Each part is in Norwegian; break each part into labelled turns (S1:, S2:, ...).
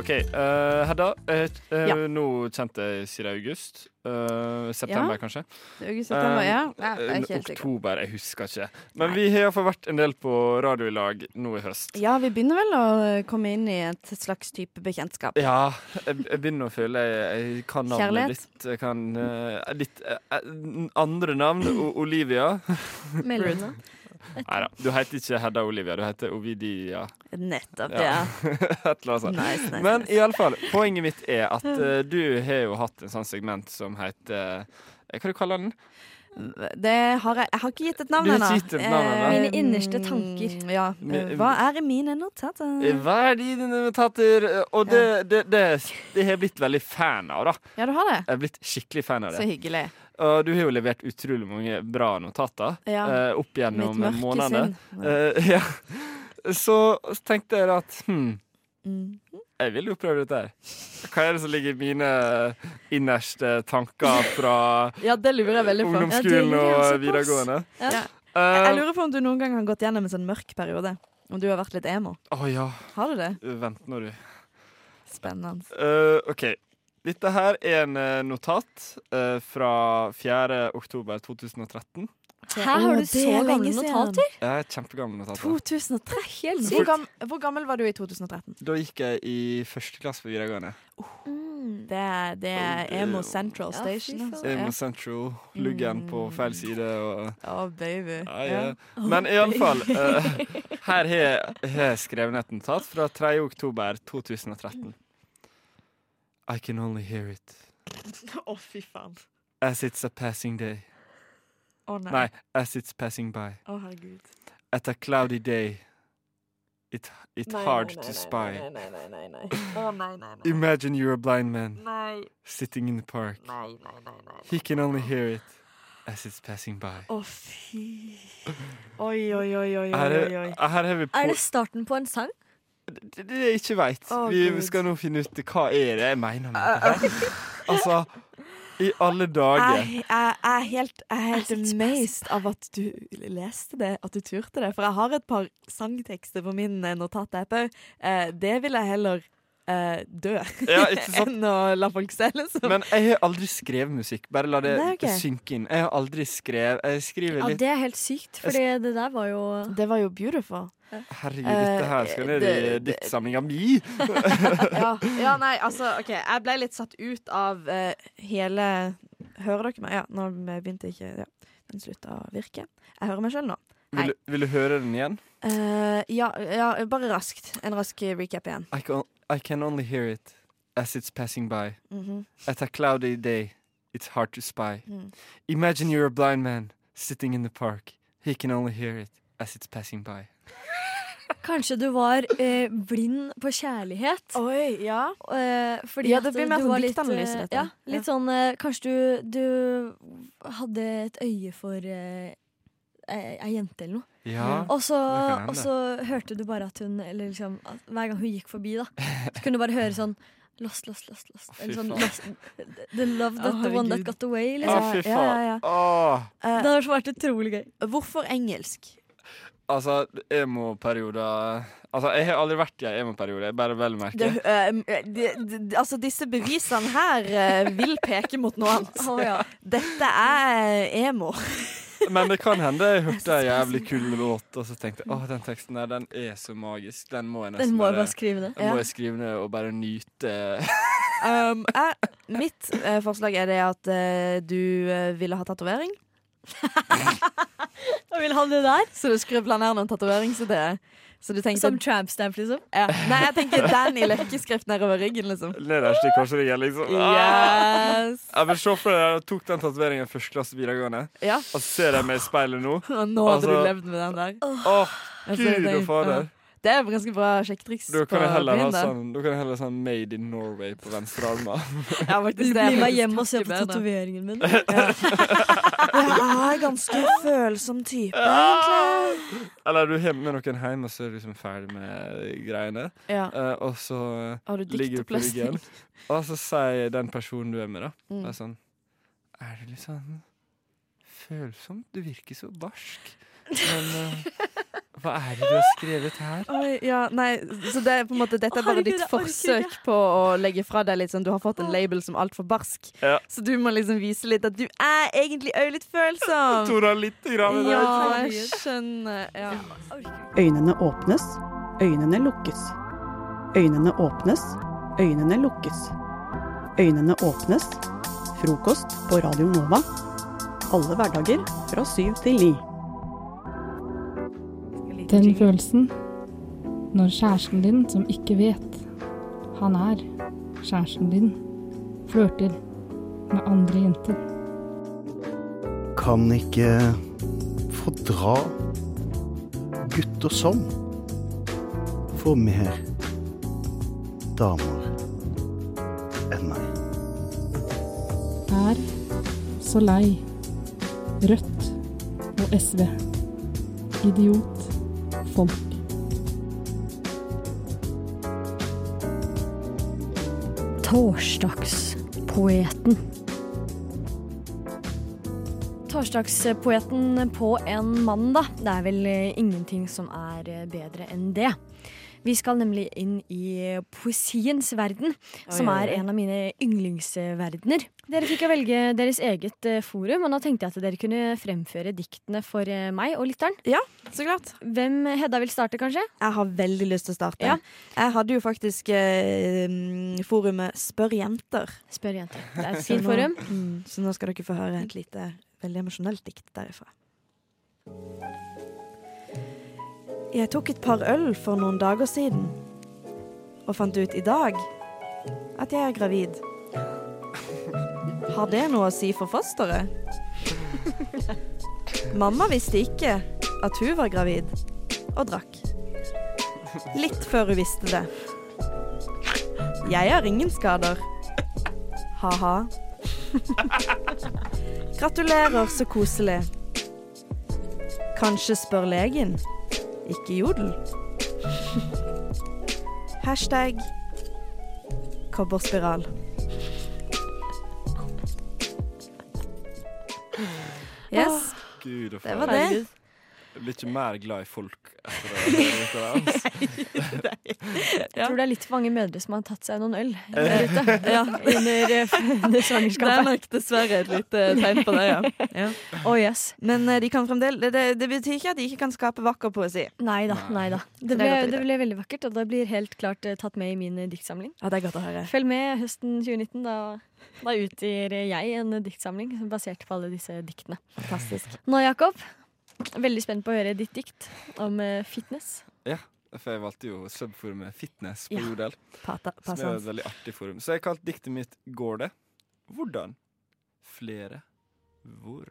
S1: OK, eh, Hedda. eh, eh,
S2: Ja.
S1: Nå kjente jeg siden august. Eh, september,
S2: Ja.
S1: kanskje.
S2: August, september, ja. Nei, jeg er
S1: Eh,
S2: ikke helt sikker.
S1: oktober, jeg husker ikke. Men vi har iallfall vært en del på radio i lag nå i høst.
S2: Ja, vi begynner vel å komme inn i et slags type bekjentskap.
S1: Ja, jeg, jeg begynner å føle jeg, jeg kan navnet
S2: Kjærlighet?
S1: litt. Jeg kan eh, litt eh, eh, andre navn. O Olivia.
S3: Mellomnavn.
S1: Nei da, du heter ikke Hedda Olivia, du heter Ovidia.
S2: Nettopp, ja.
S1: Ja. Et eller annet sånt.
S2: Nice, nice,
S1: Men
S2: nice.
S1: i alle fall, poenget mitt er at eh, du har jo hatt en sånn segment som heter eh, Hva du kaller den?
S2: Det har jeg, jeg har ikke gitt et navn
S1: Du har
S2: ennå.
S1: ikke gitt et navn ennå.
S2: Eh, mm,
S3: Mine innerste tanker.
S2: Ja. Eh,
S1: Men-
S2: Hva er mine notater?
S1: Hva er dine notater? Eh, Og det, det, det, det har jeg blitt veldig fan av, da.
S2: Ja, du har det?
S1: Jeg har blitt skikkelig fan av
S2: Så
S1: det.
S2: hyggelig.
S1: Og du har jo levert utrolig mange bra notater
S2: Ja.
S1: eh, opp
S2: Mitt
S1: gjennom
S2: mørke
S1: månedene.
S2: sinn.
S1: Eh, ja. Så tenkte jeg da at hm,
S2: Mm.
S1: jeg vil jo prøve dette her. Hva er det som ligger i mine innerste tanker fra
S3: Ja, det lurer jeg veldig på.
S2: Ja,
S1: ungdomsskolen
S2: det
S1: og
S2: ligger såpass.
S1: videregående?
S3: Ja.
S2: Ja. Jeg jeg
S1: Eh,
S2: lurer på om du noen gang har gått gjennom en sånn mørk periode. Om du har vært litt emo.
S1: Å ja.
S2: Har du det?
S1: Vent nå, du.
S2: Spennende.
S1: Eh, OK. Dette her er en eh, notat eh, fra 4. oktober 2013.
S3: Hæ, har du
S2: Å, det
S3: så
S2: er
S3: gamle
S2: lenge siden.
S3: notater?
S1: Jeg er kjempegammel notat. da.
S2: 2003?
S3: Helt
S2: Hvor,
S3: sykt.
S2: gam, hvor gammel var du i 2013?
S1: Da gikk jeg i første klasse på videregående.
S3: Mm.
S2: Det er, det er Emo Central
S3: Ja, fy
S2: Station.
S3: faen.
S2: altså.
S1: Emo Central, luggen på feil side og
S2: Å, baby.
S1: Ja, ja. Men iallfall uh, Her har jeg- har jeg skrevet et notat fra 3. oktober 2013. I can only hear it
S2: Å, fy faen.
S1: as it's a passing day.
S2: Å,
S1: Nei, as it's passing by.
S2: Å, herregud.
S1: At a cloudy day. It, it hard to spy. Imagine you're a blind man sitting in the park. He can only hear it as it's passing by.
S2: Å, fy. Oi, oi, oi, oi,
S1: Her
S2: oi,
S1: er,
S2: oi.
S1: her er vi på
S3: Er det starten på en sang?
S1: Det, det jeg ikke veit.
S2: Å,
S1: vi
S2: Gud.
S1: skal nå finne ut hva er det jeg mener med dette. her. Altså, i alle dager
S2: Jeg, jeg, jeg er helt, jeg er helt
S3: Jeg synes
S2: amazed av at du leste det, at du turte det. For jeg har et par sangtekster på min eh, notatapp òg. Eh, det vil jeg heller eh, dø
S1: Ja, ikke sant?
S2: enn å la folk se, liksom.
S1: Men jeg har aldri skrevet musikk. Bare la det
S2: Nei, ok.
S1: synke inn. Jeg har aldri skrevet Jeg skriver
S3: Ja,
S1: litt
S3: det er helt sykt, for det der var jo
S2: det var jo beautiful.
S1: Herregud, dette her skal ned i
S2: Eh, det- det-
S1: diktsamlinga mi!
S2: Ja, ja, nei, altså, OK. Jeg ble litt satt ut av eh, hele Hører dere meg? Ja, nå begynte ikke ja. Den slutta å virke. Jeg hører meg sjøl nå. Hei.
S1: Vil, du- vil du høre den igjen?
S2: Eh, ja, ja, bare raskt. En rask recap igjen.
S1: I can, I can only hear it as it's passing by.
S2: Mhm.
S1: At a cloudy day, it's hard to spy.
S2: Mm.
S1: Imagine you're a blind man sitting in the park. He can only hear it as it's passing by.
S3: Kanskje du var eh, blind på kjærlighet.
S2: Oi, ja.
S3: Eh, fordi
S2: Ja,
S3: at
S2: det blir mer
S3: du
S2: sånn
S3: var
S2: diktanalyse,
S3: eh,
S2: dette.
S3: Ja, litt sånn eh, Kanskje du, du hadde et øye for eh, ei ei jente eller noe.
S1: Ja.
S2: Mm.
S3: Og så,
S1: det kan hende.
S3: og så hørte du bare at hun Eller liksom at Hver gang hun gikk forbi, da, så kunne du bare høre sånn Lost, lost, lost. lost.
S1: Å, fy
S3: Eller sånn
S1: faen.
S3: lost, The love that
S2: Å,
S3: the one that
S2: herregud.
S3: got away.
S1: Å,
S3: Liksom.
S1: fy
S2: Ja,
S1: faen.
S2: ja, ja.
S1: Åh.
S3: Det hadde vært utrolig gøy.
S2: Hvorfor engelsk?
S1: Altså, emo-perioder Altså, jeg har aldri vært i en emo-periode, jeg bare vel merke.
S2: Det, eh, det- det- altså, disse bevisene her eh, vil peke mot noe annet.
S3: Å, ja.
S2: Dette er emo.
S1: Men det kan hende jeg hørte en jævlig kul låt, og så tenkte jeg åh, den teksten der, den er så magisk. Den må jeg
S3: Den
S1: nesten
S3: må jeg
S1: bare,
S3: bare skrive ned.
S1: den
S2: Ja.
S1: må jeg skrive ned og bare nyte.
S2: Um, jeg, mitt eh, forslag er det at eh, du eh, ville ha tatovering.
S3: Jeg vil ha det der.
S2: Så du skulle planere noen tatoveringsideer. Så du tenkte
S3: Som tramp stamp, liksom.
S2: ja. Nei, jeg tenker den i løkkeskrift nedover ryggen, liksom.
S1: Nederst i korsryggen, liksom. Ah!
S2: Yes.
S1: Jeg vil se for deg jeg tok den tatoveringen i første klasse videregående,
S2: Ja.
S1: og så ser jeg meg i speilet nå.
S2: Og nå hadde du
S1: Altså-
S2: levd med den der.
S1: Åh,
S2: Altså,
S1: gud
S2: det-
S1: og fader.
S2: Det er ganske bra sjekketriks.
S1: Da kan
S2: på
S1: jeg heller ha
S2: byen der.
S1: sånn, da kan jeg heller ha sånn Made in Norway på venstre armen.
S2: Ja, faktisk,
S3: Vil du
S2: det er
S3: bli med
S2: faktisk
S3: hjem og se
S2: hakket
S3: på
S2: bedre.
S3: tatoveringen min?
S2: Jeg er ganske følsom type,
S1: Eller du har med noen hjem, og så er du liksom ferdig med greiene.
S2: Ja.
S1: Eh, og så
S2: Har du
S1: ligger du på ryggen.
S2: diktoppløsning?
S1: Og så sier den personen du er med, da
S2: Mm.
S1: bare sånn Er du litt sånn følsomt. Du virker så barsk. Men eh, hva er det du har skrevet her?
S2: Oi, ja, nei, så det er på en måte, dette er bare
S3: Herregud,
S2: ditt
S3: jeg orker
S2: forsøk på å legge fra deg litt sånn Du har fått en label som altfor barsk,
S1: Ja.
S2: så du må liksom vise litt at du er egentlig òg litt følsom.
S1: Tora litt grann i det.
S2: Ja, jeg skjønner. Ja.
S4: Øynene åpnes, øynene lukkes. Øynene åpnes, øynene lukkes. Øynene åpnes. Frokost på Radio Nova. Alle hverdager fra syv til ni.
S5: Den følelsen når kjæresten din, som ikke vet han er kjæresten din, flørter med andre jenter.
S6: kan ikke fordra gutter som får mer damer enn meg.
S5: Er så lei Rødt og SV. Idiot folk.
S3: Torsdagspoeten. Torsdagspoeten på en mandag. Det er vel eh, ingenting som er eh, bedre enn det. Vi skal nemlig inn i poesiens verden, som
S2: oi,
S3: er
S2: oi.
S3: en av mine yndlingsverdener. Dere fikk jo velge deres eget eh, forum, og da tenkte jeg at dere kunne fremføre diktene for eh, meg og lytteren.
S2: Så klart.
S3: Hvem Hedda vil starte, kanskje?
S2: Jeg har veldig lyst til å starte.
S3: Ja.
S2: Jeg hadde jo faktisk eh, mm, forumet Spør jenter.
S3: Spør jenter. Det er et fint forum.
S2: Mm, så nå skal dere få høre et lite, veldig emosjonelt dikt derifra. Jeg tok et par øl for noen dager siden og fant ut i dag at jeg er gravid. Har det noe å si for fosteret? Mamma visste ikke at hun var gravid, og drakk. Litt før hun visste det. Jeg har ingen skader. Ha-ha. Gratulerer, så koselig. Kanskje spør legen. Ikke jodel. Hashtag kobberspiral. Yes,
S1: Gud og
S2: det
S1: faen.
S2: var det.
S1: Jeg blir ikke mer glad i folk etter å ha hørt det. altså.
S3: Jeg tror det er litt for mange mødre som har tatt seg noen øl der
S2: Eh.
S3: ute under, eh, under
S2: Det er
S3: svangerskapet.
S2: nok dessverre et lite tegn på det, ja.
S3: Oh, yes.
S2: Men eh, de kan fremdeles det, det, det betyr ikke at de ikke kan skape vakker poesi.
S3: Nei da. Nei da. Det,
S2: er
S3: ble,
S2: godt å vite.
S3: det ble veldig vakkert, og det blir helt klart eh, tatt med i min eh, diktsamling.
S2: Ja, det er godt å høre.
S3: Følg med høsten 2019. Da, da utgir jeg en eh, diktsamling basert på alle disse diktene.
S2: Fantastisk.
S3: Nå, Jakob. Veldig spent på å høre ditt dikt om eh, fitness.
S1: For jeg valgte jo subforumet Fitness på
S3: Ja.
S1: Jodel.
S2: Pata,
S1: Som er et
S2: passans.
S1: veldig artig forum. Så jeg har kalt diktet mitt 'Går det?' Hvordan? Flere? Hvor?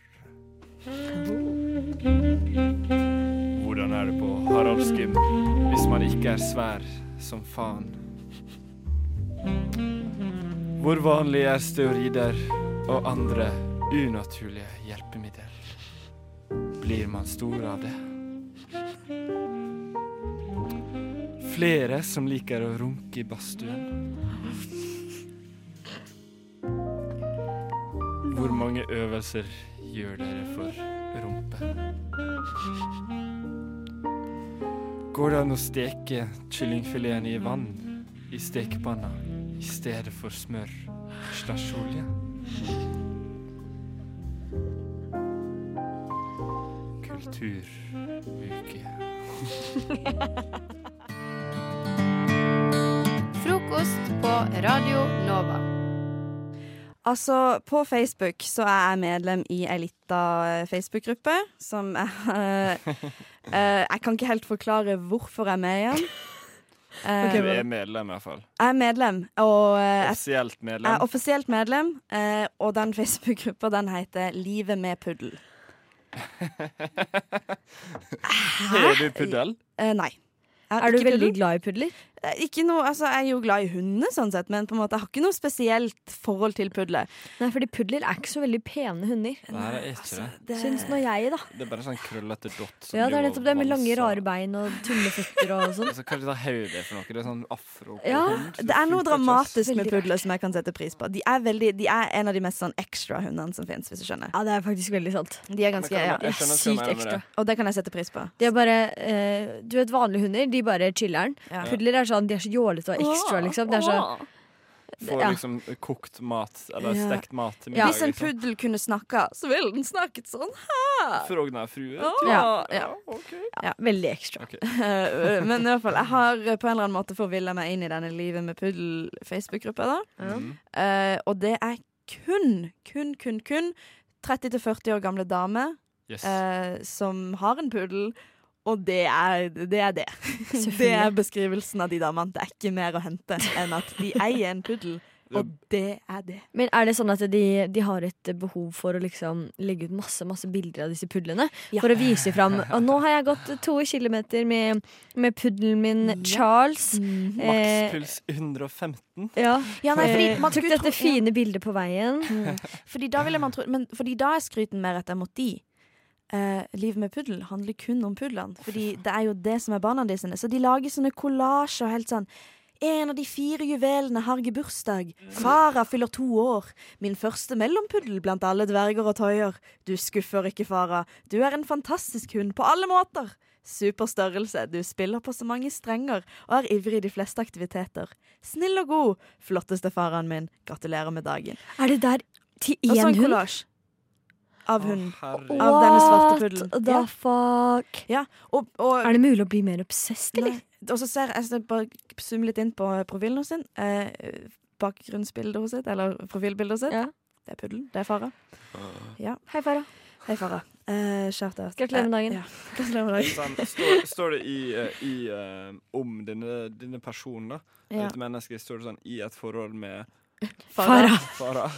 S1: Hvordan er det på Haraldsgym hvis man ikke er svær som faen? Hvor vanlig er steorider og andre unaturlige hjelpemidler? Blir man stor av det? Flere som liker å runke i badstuen. Hvor mange øvelser gjør dere for rumpe? Går det an å steke kyllingfileten i vann i stekepanna i stedet for smør slash olje? Kulturuke.
S7: Frokost på Radio Nova.
S2: Altså, på Facebook så er jeg medlem i ei lita eh, Facebook-gruppe som jeg eh, Jeg kan ikke helt forklare hvorfor jeg er med igjen. Eh,
S1: Du er medlem, iallfall.
S2: jeg er medlem, og eh, jeg
S1: Offisielt
S2: jeg er
S1: medlem.
S2: offisielt medlem, eh, og den Facebook-gruppa den heter Livet med puddel.
S1: Er du puddel?
S2: Eh, nei. Jeg har
S3: Er du
S2: ikke
S3: veldig
S2: Eh, puddel.
S3: glad i pudler?
S2: eh, ikke noe, altså, jeg er jo glad i hundene, sånn sett, men på en måte, jeg har ikke noe spesielt forhold til pudler.
S3: Nei, fordi pudler er ikke så veldig pene hunder.
S1: Nei, det er ikke det.
S2: Det-
S3: Syns nå jeg, da.
S1: Det er bare sånn krøllete dott. som
S3: Ja, det er
S1: driver
S3: nettopp det med
S1: og
S3: lange,
S1: valser.
S3: rare bein og tulleføtter og sånn.
S1: Altså, hva er det da hodet er for noe? Det er sånn afro på
S3: Ja,
S2: Det er
S1: hund, så
S2: noe
S1: funker ikke, ass.
S2: dramatisk med
S3: Veldig
S2: pudler som jeg kan sette pris på. De er, veldig, de er en av de mest sånn ekstra hundene som fins, hvis du skjønner.
S3: Ja, det er faktisk veldig sant.
S2: De er
S1: Men
S2: ganske,
S1: hva-
S2: ja,
S1: jeg skjønner ikke hva
S3: sykt
S1: jeg mener med
S3: ekstra.
S1: det.
S2: Og det kan jeg sette pris på.
S3: De er bare eh, Du vet, vanlige hunder, de bare chiller'n.
S2: Ja.
S3: Pudler er sånn, de er så jålete og ekstra, liksom. Det er så
S1: Får
S3: Ja.
S1: liksom kokt mat, eller
S3: Ja.
S1: stekt mat
S3: Ja.
S1: til middag.
S2: Hvis en
S1: liksom.
S2: puddel kunne snakka, så ville den snakket sånn.
S1: Frogner frue.
S3: Ja,
S2: ja.
S1: ok.
S3: ja, veldig ekstra.
S1: Ok.
S2: Eh, Men i hvert fall, jeg har på en eller annen måte forvilla meg inn i denne Livet med puddel-Facebook-gruppa. da
S8: Mm.
S1: Mhm.
S2: Eh, Og det er kun, kun, kun, kun 30-40 år gamle dame
S1: Yes.
S2: eh, som har en puddel. Og det er det. Er det. det er
S3: Selvfølgelig.
S2: beskrivelsen av de damene. Det er ikke mer å hente enn at de eier en puddel, og det er det.
S3: Men er det sånn at de, de har et behov for å liksom legge ut masse masse bilder av disse pudlene?
S2: Ja.
S3: For å vise fram Og nå har jeg gått to kilometer med, med puddelen min Charles. Eh,
S1: Makspuls 115.
S3: ja.
S2: Ja, nei, fordi
S3: Eh,
S2: man
S3: Tok
S2: skulle tro- Mm.
S3: dette fine bildet på veien.
S2: Fordi da, ville man tro, men, fordi da er skryten mer retta mot de. Eh, Livet med puddel handler kun om pudlene. Fordi det er jo det som er barna de sine. Så de lager sånne kollasjer og helt sånn. En av de fire juvelene har gebursdag. Farah fyller to år. Min første mellompuddel blant alle dverger og tøyer. Du skuffer ikke, Farah. Du er en fantastisk hund på alle måter. Super størrelse. Du spiller på så mange strenger og er ivrig i de fleste aktiviteter. Snill og god. Flotteste Faraen min. Gratulerer med dagen.
S3: Er det der til
S2: Og
S3: én
S2: sånn
S3: hund?
S2: kollasj av hunden.
S1: herregud.
S2: Av denne svarte puddelen.
S3: What the
S2: Ja.
S3: fuck?
S2: Ja, og, og,
S3: Er det mulig å bli mer obsessed, eller?
S2: Nei. og så ser jeg så bare zoom litt inn på profilen hos sin. Eh, bakgrunnsbildet hos sitt, eller profilbildet hos sitt.
S3: Ja.
S2: Det er puddelen. Det er Farah.
S1: Ah.
S3: Hei, Farah.
S2: Hei, Farah. Eh, shout out.
S3: Gratulerer med dagen.
S2: Eh, ja. Gratulerer med dagen.
S1: Sånn, står, står det i, eh, i eh, om denne, denne personen, da,
S2: Ja.
S1: eh, et menneske, står det sånn i et forhold med
S2: Farah.
S1: Farah?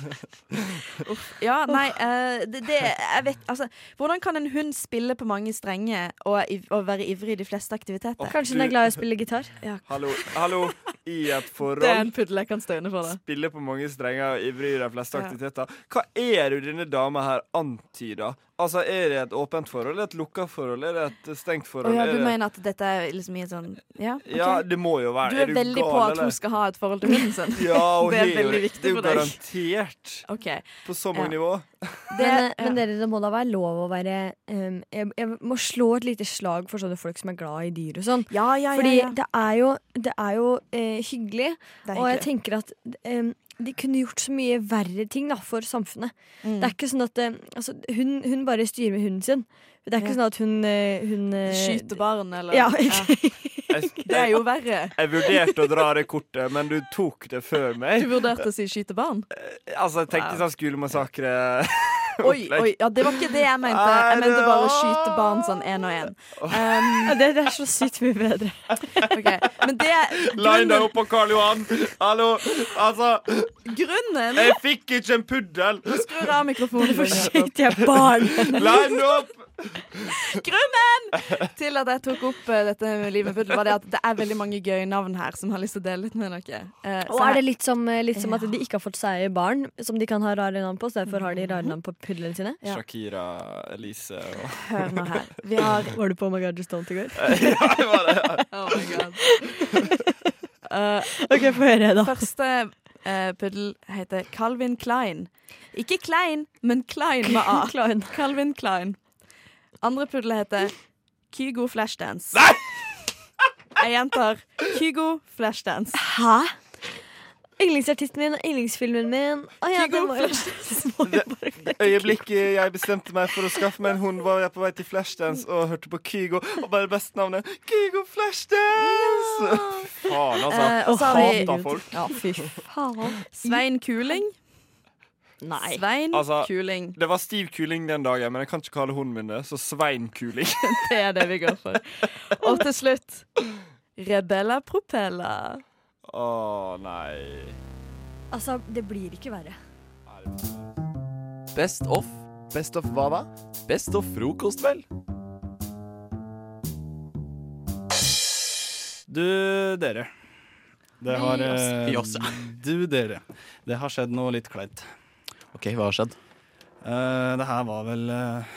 S2: Ja, nei, eh, det, det Jeg vet Altså, hvordan kan en hund spille på mange strenger og, iv- og være ivrig i de fleste aktiviteter?
S1: Å,
S3: Kanskje
S1: du-
S3: hun er glad i å spille gitar?
S1: Hallo, hallo, i et forhold.
S2: Det er en puddel jeg kan stå inne for, da.
S1: Spiller på mange strenger og ivrig i de fleste
S2: Ja.
S1: aktiviteter. Hva er det denne dama her antyder? Altså, Er det et åpent forhold? Er det et lukka forhold? Er det et stengt
S2: Å
S1: forhold?
S2: ja,
S1: Er
S2: du
S1: det...
S2: mener at dette er liksom i en sånn Ja, ok.
S1: ja det må jo være
S2: Du er, veldig på at hun skal ha et forhold til hunden sin.
S1: ja, og
S2: Det er
S1: det er jo-
S2: veldig viktig
S1: Det er jo
S2: for deg.
S1: garantert
S2: OK.
S1: på så mange
S2: Ja.
S1: nivå.
S2: Det,
S3: men, eh,
S2: ja.
S3: men dere, det må da være lov å være ehm, jeg, jeg må slå et lite slag for sånne folk som er glad i dyr og sånn.
S2: ja, ja,
S3: Fordi
S2: ja, ja.
S3: det er jo, det er jo eh, hyggelig,
S2: Det er
S3: og jeg
S2: hyggelig.
S3: tenker at ehm, de kunne gjort så mye verre ting da, for samfunnet.
S2: Mm.
S3: Det er ikke sånn at eh, altså, hun, hun bare styrer med hunden sin. Det er ikke
S2: Ja.
S3: sånn at hun, eh, hun eh,
S2: Skyte barn, eller
S3: Ja,
S1: Jeg,
S2: Det er
S1: jeg,
S2: jo verre.
S1: jeg vurderte å dra det kortet, men du tok det før
S2: Du
S1: meg.
S2: vurderte å si skyte barn?
S1: Altså, jeg tenkte
S2: Wow.
S1: sånn skolemassakre
S2: Oi, oi, ja, det var ikke det jeg mente. Jeg mente bare å skyte barn sånn én og én. Um,
S3: Ja, det, det er så sykt mye bedre.
S2: ok. Men det
S1: Line deg
S2: grunnen,
S1: opp på Karl Johan! Hallo! Altså,
S2: grunnen
S1: jeg fikk ikke en puddel!
S2: Skru av mikrofonen.
S3: Hvorfor
S2: Jakob.
S3: skyter jeg barn?
S1: Line deg opp!
S2: Til at jeg tok opp eh, dette med livet med puddel, var det at det er veldig mange gøye navn her som har lyst til å dele litt med dere. Eh,
S3: Og
S2: så
S3: er
S2: her-
S3: det litt som, litt som at de ikke har fått seg barn, som de kan ha rare navn på, så derfor har de rare navn på pudlene sine?
S2: Mm. Ja.
S1: Shakira, Elise og
S2: Hør nå her. Vi har
S3: Var du på Oh My God You're Stoned i går?
S2: Oh my god. Eh,
S3: Ok, få høre, da.
S2: Første eh, puddel heter Calvin Klein. Ikke Klein, men Klein med A.
S3: Klein.
S2: Calvin Klein. Andre puddel heter Kygo Flashdance. Jeg gjentar Kygo Flashdance.
S3: Hæ? Yndlingsartisten min og yndlingsfilmen min. Å ja, det må jo må jo bare
S1: Øyeblikket jeg bestemte meg for å skaffe meg en hund, var jeg på vei til Flashdance og hørte på Kygo, og bare beste navnet Kygo Flashdance! Faen, altså.
S2: Eh, og så har vi-
S1: Hata folk.
S3: Ja, fy faen.
S2: Svein Kuling.
S3: Nei.
S2: Svein
S1: Altså-
S2: Kuling.
S1: Det var stiv kuling den dagen, men jeg kan ikke kalle hunden min det, så Svein kuling.
S2: Det er det vi går for. Og til slutt Rebella Propella.
S1: Å, nei.
S3: Altså, det blir ikke verre.
S9: Best off.
S6: Best of hva da?
S9: Best of frokost, vel?
S1: Du, dere.
S10: Det har eh,
S11: I oss, ja.
S10: Du, dere. Det har skjedd noe litt kleint.
S11: OK, hva har skjedd?
S10: Eh, det her var vel eh,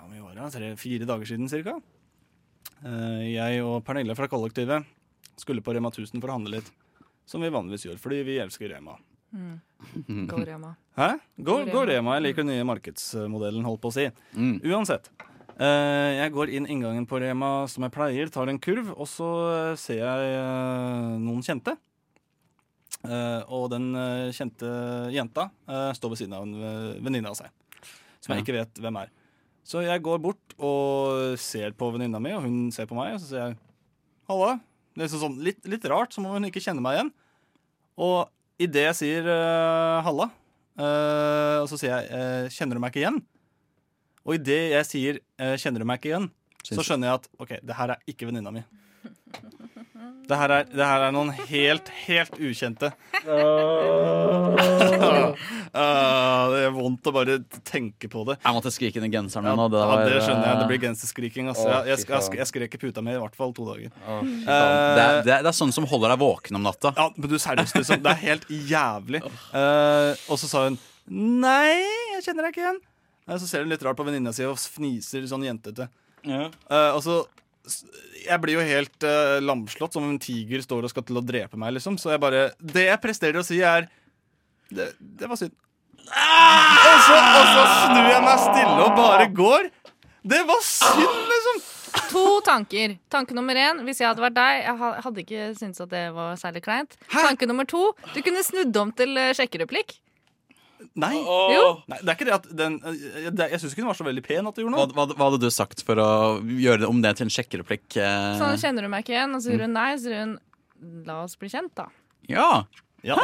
S10: Hvor mye var det? Tre-fire dager siden cirka. Eh, jeg og Pernille fra kollektivet skulle på Rema 1000 for å handle litt. Som vi vanligvis gjør, fordi vi elsker Rema.
S12: Mm. Go Rema.
S10: Hæ?
S12: Gå
S10: Går,
S12: Rema.
S10: går Rema. Jeg liker den nye markedsmodellen, holdt på å si. Uansett. eh, jeg går inn inngangen på Rema som jeg pleier, tar en kurv, og så eh, ser jeg eh, noen kjente. Eh, og den eh, kjente jenta eh, står ved siden av en ve- venninne av seg, som jeg ikke vet hvem er. Så jeg går bort og ser på venninna mi, og hun ser på meg, og så sier jeg Halla. Det er sånn- sånn, litt, litt rart, som om hun ikke kjenner meg igjen. Og idet jeg sier eh, halla, eh, og så sier jeg eh, kjenner du meg ikke igjen? Og idet jeg sier eh, kjenner du meg ikke igjen, så skjønner jeg at ok, det her er ikke venninna mi. Det her, er, det her er noen helt, helt ukjente. Ah, det gjør vondt å bare tenke på det.
S11: Jeg måtte skrike under genseren min nå.
S10: Ja,
S11: var- eh,
S10: det skjønner jeg. Det blir genserskriking. Altså.
S11: Å,
S10: Jeg, jeg,
S11: fy
S10: jeg,
S11: faen.
S10: jeg skrek i puta mi i hvert fall to dager. Eh,
S11: Fy faen. det, er, det, er, det er sånn som holder deg våken om natta.
S10: Ja, men du seriøst, liksom. Det er helt jævlig. Eh, og så sa hun Nei, jeg kjenner deg ikke igjen. Eh, Så ser hun litt rart på venninna si og fniser sånn jentete. Eh, og så s- Jeg blir jo helt eh, lamslått, som om en tiger står og skal til å drepe meg, liksom. Så jeg bare Det jeg presterer å si, er Det, det var synd. Og så, og så snur jeg meg stille og bare går. Det var synd, liksom!
S12: To tanker. Tanke nummer én, hvis jeg hadde vært deg, jeg ha- hadde ikke syntes at det var særlig kleint. Tanke nummer to, du kunne snudd om til eh, sjekkereplikk.
S10: Nei.
S12: Jo.
S10: Nei, det er ikke det at den eh, det- Jeg syns ikke hun var så veldig pen at hun gjorde
S11: Hva,
S10: noe.
S11: hva, hva hadde du sagt for å gjøre det om det til en sjekkereplikk? eh?
S12: Sånn kjenner du meg ikke igjen. Og så sier hun nei, så sier hun la oss bli kjent, da.
S11: Ja.
S10: Ja,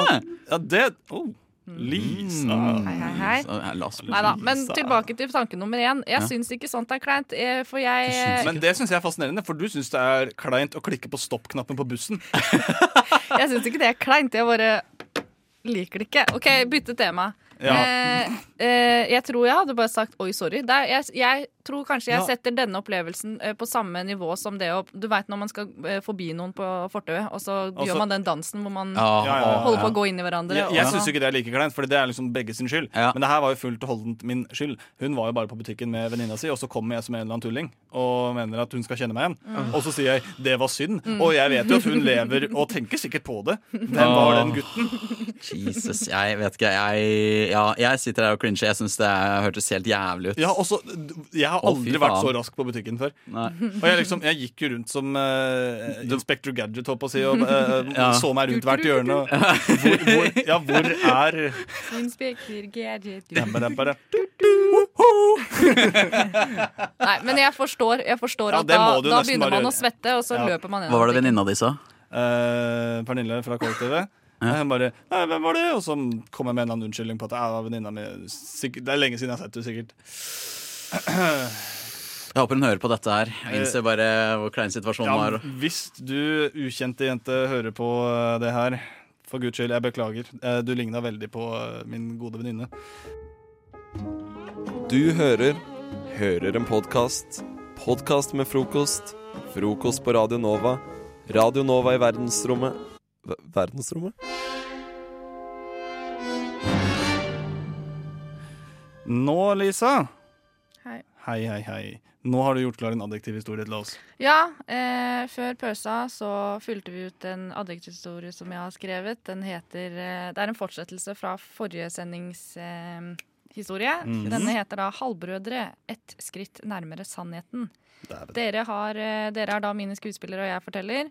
S10: ja det oh. Lisa.
S12: Hei, hei, hei.
S11: La oss bli
S12: Nei da. Men
S10: Lisa.
S12: tilbake til tanke nummer én. Jeg
S10: Ja.
S12: syns ikke sånt er kleint, eh, for jeg
S10: Men det syns jeg er fascinerende, for du syns det er kleint å klikke på stopp-knappen på bussen.
S12: Jeg syns ikke det er kleint, jeg bare liker det ikke. OK, bytte tema.
S10: Ja.
S12: Eh, eh, jeg tror jeg hadde bare sagt 'oi, sorry'. Det er, jeg, jeg tror kanskje jeg
S13: Ja.
S12: setter denne opplevelsen eh, på samme nivå som det å Du veit når man skal eh, forbi noen på fortauet, og så
S10: Og så-
S12: gjør man den dansen hvor man
S10: Ja, ja, ja, ja.
S12: holder på å gå inn i hverandre.
S10: Jeg,
S12: og
S10: jeg
S12: så-
S10: syns ikke det er like kleint, for det er liksom begge sin skyld. Men det her var jo fullt og holdent min skyld. Hun var jo bare på butikken med venninna si, og så kommer jeg som en eller annen tulling og mener at hun skal kjenne meg igjen.
S6: Mm.
S10: Og så sier jeg 'det var synd',
S6: Mm.
S10: og jeg vet jo at hun lever og tenker sikkert på det. Hvem var den gutten?
S11: Jesus, jeg vet ikke. Jeg, ja, jeg sitter her og cringer. Jeg syns det er- hørtes helt jævlig ut.
S10: Ja, og så, jeg har
S11: Å, fy
S10: aldri vært så
S11: faen.
S10: rask på butikken før.
S11: Nei.
S10: Og jeg, liksom, jeg gikk jo rundt som eh, Inspector Gadget, holdt på å si, og eh,
S11: Ja.
S10: så meg rundt hvert hjørne. og Hvor, hvor, ja, hvor er
S12: Inspektør Gadget.
S10: Dabba, dabba, da.
S12: Nei, men jeg forstår, jeg forstår
S10: Ja,
S12: at
S10: det
S12: da,
S10: må du
S12: da
S10: nesten
S12: begynner
S10: bare
S12: man å
S10: gjøre.
S12: svette, og så
S10: Ja.
S12: løper man
S11: Hva var det venninna di sa?
S10: Eh, Pernille fra kollektivet. Eh, Hun bare Nei, 'Hvem var det?' Og så kom jeg med en eller annen unnskyldning på at jeg var venninna mi. Sikkert- Det er lenge siden jeg har sett henne, sikkert.
S11: Jeg håper hun hører på dette her. Jeg innser bare hvor klein situasjonen
S10: Eh, Ja,
S11: Sånn var.
S10: hvis du, ukjente jente, hører på eh, det her, for guds skyld, jeg beklager. Eh, Du ligna veldig på eh, min gode venninne.
S9: Du hører Hører en podkast. Podkast med frokost. Frokost på Radio Nova. Radio Nova i verdensrommet Ver- Verdensrommet?
S10: Nå, Lisa.
S12: Hei.
S10: Hei, hei, hei. Nå har du gjort klar en adjektiv historie til oss.
S12: Ja, eh, før pausa så fylte vi ut en adjektivhistorie som jeg har skrevet. Den heter eh, Det er en fortsettelse fra forrige sendingshistorie. Eh, historie.
S13: Mhm.
S12: Denne heter da 'Halvbrødre ett skritt nærmere sannheten'.
S10: Dæven.
S12: Dere, har, eh, dere er da mine skuespillere, og jeg forteller.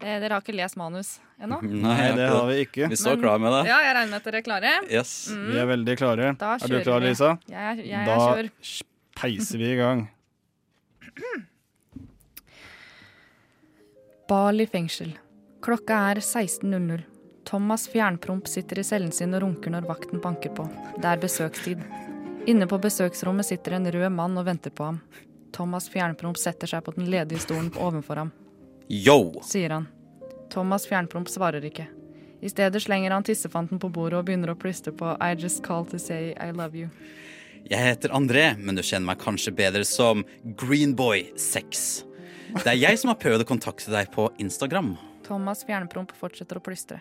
S12: Eh, dere har ikke lest manus ennå?
S10: Nei, det har vi ikke.
S11: Vi står
S12: Men-
S11: klar med det.
S12: Ja, jeg regner med at dere er klare. Mm.
S10: Vi er veldig klare.
S12: Da
S10: Er du
S12: kjører
S10: klar,
S12: vi.
S10: Lisa?
S12: Jeg er- jeg er
S10: da
S12: kjør.
S10: sj- peiser vi i gang.
S12: Bali fengsel. Klokka er 16.00. Thomas Fjernpromp sitter i cellen sin og runker når vakten banker på. Det er besøkstid. Inne på besøksrommet sitter en rød mann og venter på ham. Thomas Fjernpromp setter seg på den ledige stolen ovenfor ham,
S11: Yo!
S12: sier han. Thomas Fjernpromp svarer ikke. I stedet slenger han tissefanten på bordet og begynner å plystre på I just call to say I love you.
S11: Jeg heter André, men du kjenner meg kanskje bedre som Greenboy6. Det er jeg som har prøvd å kontakte deg på Instagram.
S12: Thomas Fjernpromp fortsetter å plystre.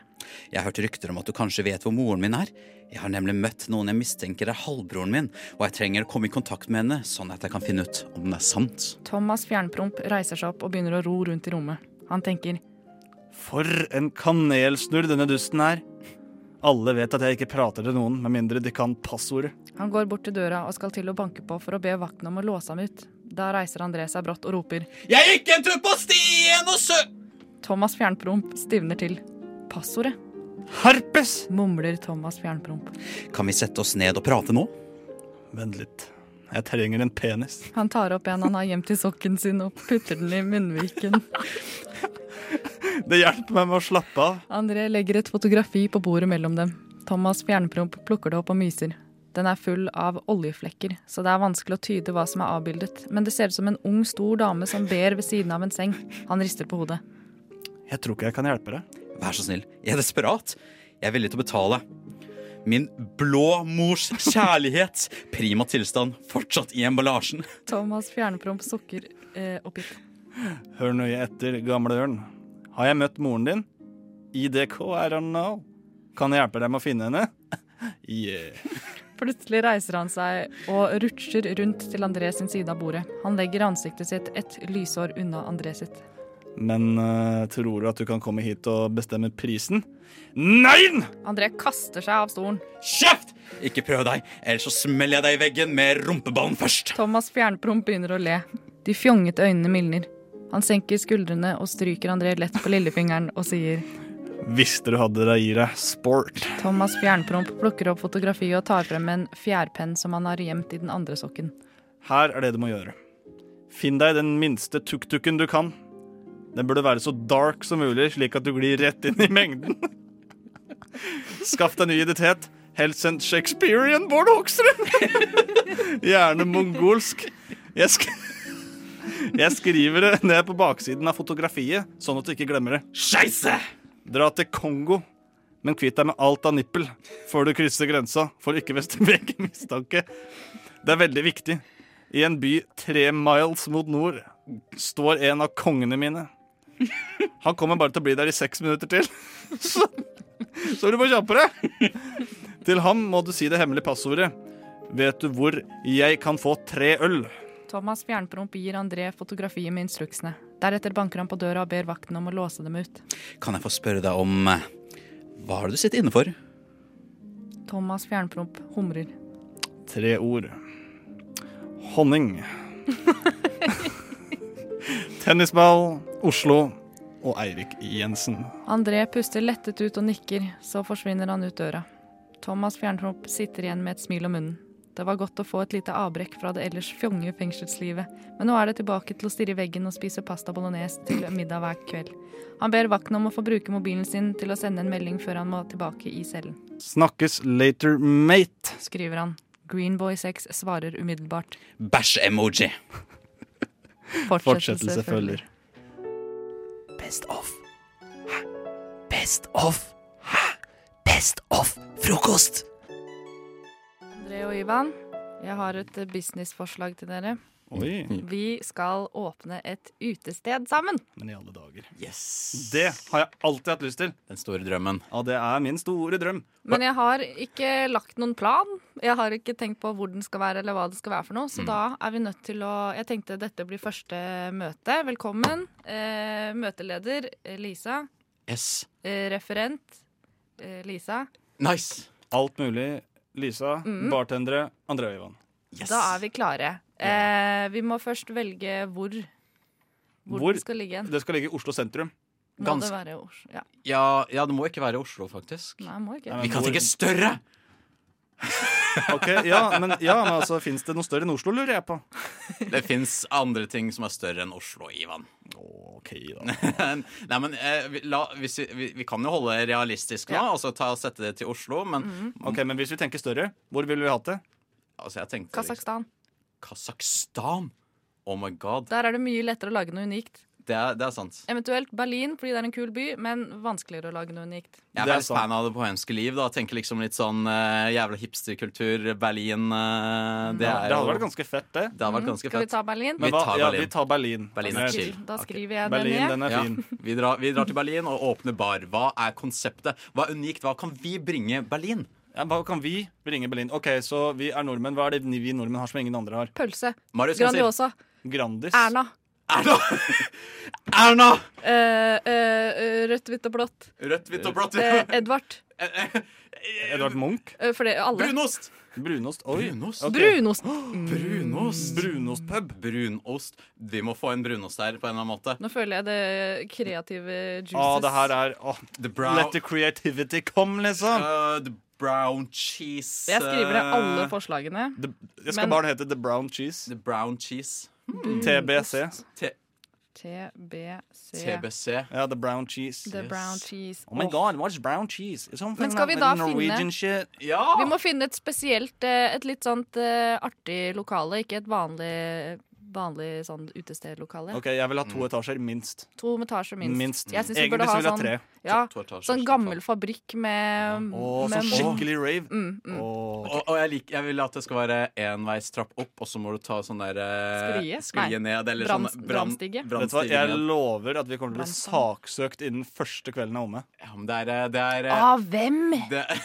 S11: Jeg har hørt rykter om at du kanskje vet hvor moren min er. Jeg har nemlig møtt noen jeg mistenker er halvbroren min, og jeg trenger å komme i kontakt med henne, sånn at jeg kan finne ut om den er sant.
S12: Thomas Fjernpromp reiser seg opp og begynner å ro rundt i rommet. Han tenker
S10: For en kanelsnurr denne dusten er. Alle vet at jeg ikke prater til noen med mindre de kan passordet.
S12: Han går bort til døra og skal til å banke på for å be vakten om å låse ham ut. Da reiser André seg brått og roper
S11: Jeg gikk en tur på stien og sø...
S12: Thomas Fjernpromp stivner til. Passordet.
S10: Herpes!
S12: mumler Thomas Fjernpromp.
S11: Kan vi sette oss ned og prate nå?
S10: Vent litt. Jeg trenger en penis.
S12: Han tar opp en han har gjemt i sokken sin og putter den i munnviken.
S10: Det hjelper meg med å slappe av.
S12: André legger et fotografi på bordet mellom dem. Thomas Fjernpromp plukker det opp og myser. Den er full av oljeflekker, så det er vanskelig å tyde hva som er avbildet, men det ser ut som en ung, stor dame som ber ved siden av en seng. Han rister på hodet.
S10: Jeg tror ikke jeg kan hjelpe deg.
S11: Vær så snill. Jeg er desperat. Jeg er villig til å betale. Min blå mors kjærlighet. Prima tilstand. Fortsatt i emballasjen.
S12: Thomas Fjernpromp sukker eh, oppgitt.
S10: Hør nøye etter, gamle ørn. Har jeg møtt moren din? IDK er han nå. Kan jeg hjelpe deg med å finne henne? Yeah.
S12: Plutselig reiser han seg og rutsjer rundt til André sin side av bordet. Han legger ansiktet sitt et lysår unna André sitt.
S10: Men eh, tror du at du kan komme hit og bestemme prisen? Nei!
S12: André kaster seg av stolen.
S11: Kjeft! Ikke prøv deg, ellers så smeller jeg deg i veggen med rumpeballen først.
S12: Thomas Fjernpromp begynner å le. De fjongete øynene mildner. Han senker skuldrene og stryker André lett på lillefingeren og sier
S10: Visste du hadde det i deg. Sport.
S12: Thomas Fjernpromp plukker opp fotografiet og tar frem en fjærpenn som han har gjemt i den andre sokken.
S10: Her er det du må gjøre. Finn deg den minste tuk-tuken du kan. Den burde være så dark som mulig, slik at du glir rett inn i mengden. Skaff deg ny identitet. Helst en Shakespearean Bård Hoksrud. Gjerne mongolsk. Jeg, sk jeg skriver det ned på baksiden av fotografiet, sånn at du ikke glemmer det.
S11: Scheisse!
S10: Dra til Kongo, men kvitt deg med alt av nippel før du krysser grensa, for ikke å vekke mistanke. Det er veldig viktig. I en by tre miles mot nord står en av kongene mine. Han kommer bare til å bli der i seks minutter til. Så, så du må kjappe deg! Til ham må du si det hemmelige passordet. Vet du hvor jeg kan få tre øl?
S12: Thomas Fjernpromp gir André fotografiet med instruksene. Deretter banker han på døra og ber vakten om å låse dem ut.
S11: Kan jeg få spørre deg om eh, Hva er det du sitter inne for?
S12: Thomas Fjernpromp humrer.
S10: Tre ord. Honning. Tennisball, Oslo og Eirik Jensen.
S12: André puster lettet ut og nikker, så forsvinner han ut døra. Thomas Fjernpromp sitter igjen med et smil om munnen. Det var godt å få et lite avbrekk fra det ellers fjonge fengselslivet, men nå er det tilbake til å stirre i veggen og spise pasta bolognese til middag hver kveld. Han ber vakten om å få bruke mobilen sin til å sende en melding før han må tilbake i cellen.
S10: Snakkes later, mate.
S12: Skriver han. Greenboy6 svarer umiddelbart.
S11: Bæsj-emoji.
S12: Fortsettelse følger.
S11: Best of. Hæ? Best of. Hæ? Best of frokost!
S12: André og Ivan, jeg har et eh, businessforslag til dere.
S10: Oi.
S12: Vi skal åpne et utested sammen.
S10: Men i alle dager.
S11: Yes.
S10: Det har jeg alltid hatt lyst til.
S11: Den store drømmen.
S10: Ja, det er min store drøm.
S12: Men jeg har ikke lagt noen plan. Jeg har ikke tenkt på hvor den skal være, eller hva det skal være for noe. Så da er vi nødt til å Jeg tenkte dette blir første møte. Velkommen. Eh, møteleder eh, Lisa.
S11: Yes.
S12: Eh, referent eh, Lisa.
S11: Nice.
S10: Alt mulig. Lisa,
S12: Mm.
S10: bartendere, André og Ivan.
S12: Da er vi klare. Eh, vi må først velge hvor. Hvor, den skal ligge hen.
S10: Det skal ligge i Oslo sentrum.
S12: Må det
S11: Ganske-
S12: være Oslo? Ja.
S11: Ja, ja, det må ikke være Oslo, faktisk.
S12: Nei, må ikke.
S11: Vi kan tenke større!
S10: Ok, ja, men, ja, men altså, Fins det noe større enn Oslo, lurer jeg på.
S11: Det fins andre ting som er større enn Oslo, Ivan.
S10: Ok, da.
S11: Nei, men eh, vi, la, hvis vi, vi, vi kan jo holde realistisk nå,
S10: Ja.
S11: altså ta og sette det til Oslo, men
S12: Mm.
S10: Ok, Men hvis vi tenker større, hvor ville vi hatt det?
S11: altså, jeg tenkte
S12: Kasakhstan.
S11: Kasakhstan! Oh my god.
S12: Der er det mye lettere å lage noe unikt.
S11: Det er, det er sant.
S12: Eventuelt Berlin, fordi det er en kul by, men vanskeligere å lage noe unikt.
S11: Jeg er veldig fan av det bohemske liv. da Tenker liksom litt sånn eh, jævla hipsterkultur, Berlin eh, det,
S10: Ja,
S11: er
S10: det hadde
S11: jo-
S10: vært ganske fett, det.
S11: Det hadde vært ganske
S12: Mm. Mhm. Skal vi
S11: fett.
S12: ta Berlin?
S11: Vi
S10: Men hva-
S11: tar
S10: ja,
S11: Berlin.
S10: vi tar Berlin.
S11: Berlin
S10: Den
S11: er
S10: er
S11: chill.
S10: chill.
S12: Da skriver jeg
S11: Berlin,
S12: den ned.
S10: den er fin.
S11: Vi, drar, vi drar til Berlin og åpner bar. Hva er konseptet? Hva er unikt? Hva kan vi bringe Berlin?
S10: Ja, hva kan vi bringe Berlin? Ok, så vi er nordmenn. Hva er det vi nordmenn har som ingen andre har?
S12: Pølse.
S10: Marius, hva sier-
S12: Grandiosa.
S10: Grandis.
S12: Erna.
S11: Erna!
S12: Eh, eh, rødt, hvitt og blått.
S11: Rødt, hvitt og blått.
S12: Eh, Edvard.
S10: Edvard Munch.
S12: Eh, for det, alle.
S11: Brunost!
S10: Brunost. Oi.
S11: Brunost.
S10: Ok.
S12: Brunost.
S11: Brunost.
S10: Brunostpub.
S11: Brunost. Vi må få en brunost her på en eller annen måte.
S12: Nå føler jeg det kreative juices.
S10: Å, det her er å,
S11: brow-
S10: Let the creativity come, liksom.
S11: Uh, the brown cheese
S12: Jeg skriver ned alle
S11: eh,
S12: forslagene.
S10: Det skal
S12: Men- Hmm.
S10: bare hete The Brown Cheese.
S11: The Brown Cheese.
S10: TBC.
S12: TBC.
S10: Ja, The Brown Cheese.
S12: The brown cheese.
S10: Oh my god, what's brown cheese? It's something
S12: Men skal vi
S10: like
S12: da
S10: Norwegian
S12: finne-
S10: shit.
S12: Vi må finne et spesielt, eh, et litt sånt eh, artig lokale, ikke et vanlig, vanlig sånn utestedlokale.
S10: Ok, jeg vil ha to etasjer, minst.
S12: To med etasjer minst.
S10: Minst.
S12: Jeg synes vi
S10: Egentlig
S12: burde ha
S10: så vil jeg ha
S12: sånn,
S10: tre.
S12: Ja,
S10: To- to etasjer,
S12: sånn gammel fabrikk med,
S11: Åh,
S12: med
S11: sånn skikkelig
S10: rave.
S12: Mm, mm.
S11: Og, og jeg, liker, jeg vil at det skal være enveistrapp opp, og så må du ta sånn der eh,
S12: Sklie? Nei.
S11: sklie ned. Eller
S12: Brans-
S11: sånn
S12: brannstige.
S10: Vet du hva, Jeg
S11: ned.
S10: lover at vi kommer til å bli
S11: Brannstige.
S10: saksøkt innen første kvelden er omme.
S11: Ja, men det er, eh, det er eh,
S12: Av hvem?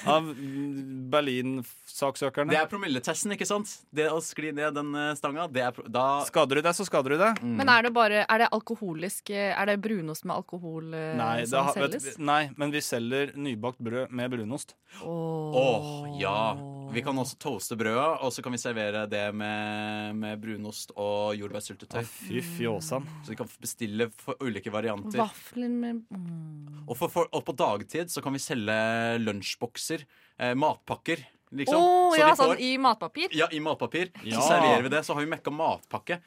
S10: Av mm, Berlin-saksøkerne.
S11: Det er promilletesten, ikke sant? Det å skli ned den eh, stanga, det er pro- da
S10: Skader du deg, så skader du deg.
S12: Men er det bare Er det alkoholisk eh, Er det brunost med alkohol eh,
S10: Nei, det
S12: som
S10: har- vet-
S12: selges?
S10: nei, men vi selger nybakt brød med brunost.
S11: Åh, ja. Vi kan også toaste brødet, og så kan vi servere det med, med brunost og jordbærsyltetøy.
S10: Fy fjåsan.
S11: Så vi kan bestille for ulike varianter.
S12: Vafler med
S11: Og, for, for, og på dagtid så kan vi selge lunsjbokser, eh, matpakker, liksom.
S12: Åh,
S11: Så
S12: ja,
S11: de får-
S12: sånn i matpapir?
S11: Ja, i matpapir.
S10: Ja.
S11: Så serverer vi det, så har vi mekka matpakke.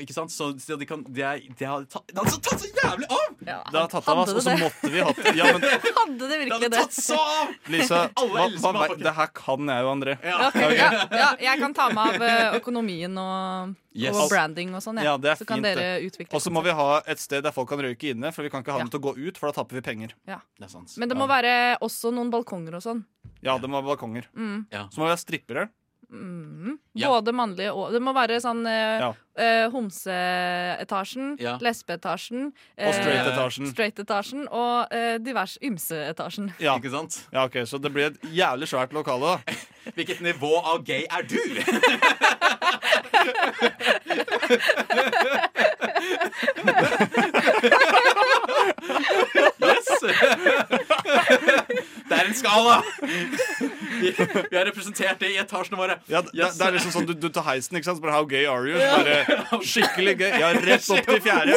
S11: Ikke sant? Så så de kan Det er- det har tatt, det har tatt så jævlig av!
S10: Det har tatt av oss,
S11: Hadde
S10: og
S11: det
S10: så
S11: det?
S10: måtte vi hatt ja, men,
S12: Hadde det virkelig det?
S11: tatt så av!
S10: Lisa,
S11: Alle
S10: hva,
S11: elsker
S10: hva,
S11: matpakke.
S10: det her kan jeg jo, André.
S12: Ja, ok, ja, ja, jeg kan ta meg av eh, økonomien og,
S10: Yes.
S12: og branding og sånn. jeg.
S10: Ja, det er
S12: så kan
S10: fint,
S12: dere
S10: det.
S12: utvikle.
S10: Og så må vi ha et sted der folk kan røyke inne, for vi kan ikke ha dem til å gå ut, for da tapper vi penger.
S12: Ja.
S11: Det er sant.
S12: Men det må være også noen balkonger og sånn.
S10: Ja, det må være balkonger.
S12: Mm.
S10: Så må vi ha strippere.
S12: Mm.
S10: Ja.
S12: Både mannlige og Det må være sånn eh,
S10: Ja.
S12: eh, homseetasjen,
S10: Ja.
S12: lesbeetasjen
S10: Og
S12: eh,
S10: straight-etasjen.
S12: straight-etasjen og eh, divers ymseetasjen.
S10: Ja.
S11: Ikke sant?
S10: Ja, ok, Så det blir et jævlig svært lokale, da.
S11: Hvilket nivå av gay er du? yes! Det er en skala! Vi, vi har representert det i etasjene våre.
S10: Ja, det,
S11: Yes.
S10: det er liksom sånn du, du tar heisen, ikke sant? Så bare How gay are you? Så bare, skikkelig gøy. Ja, rett opp til fjerde.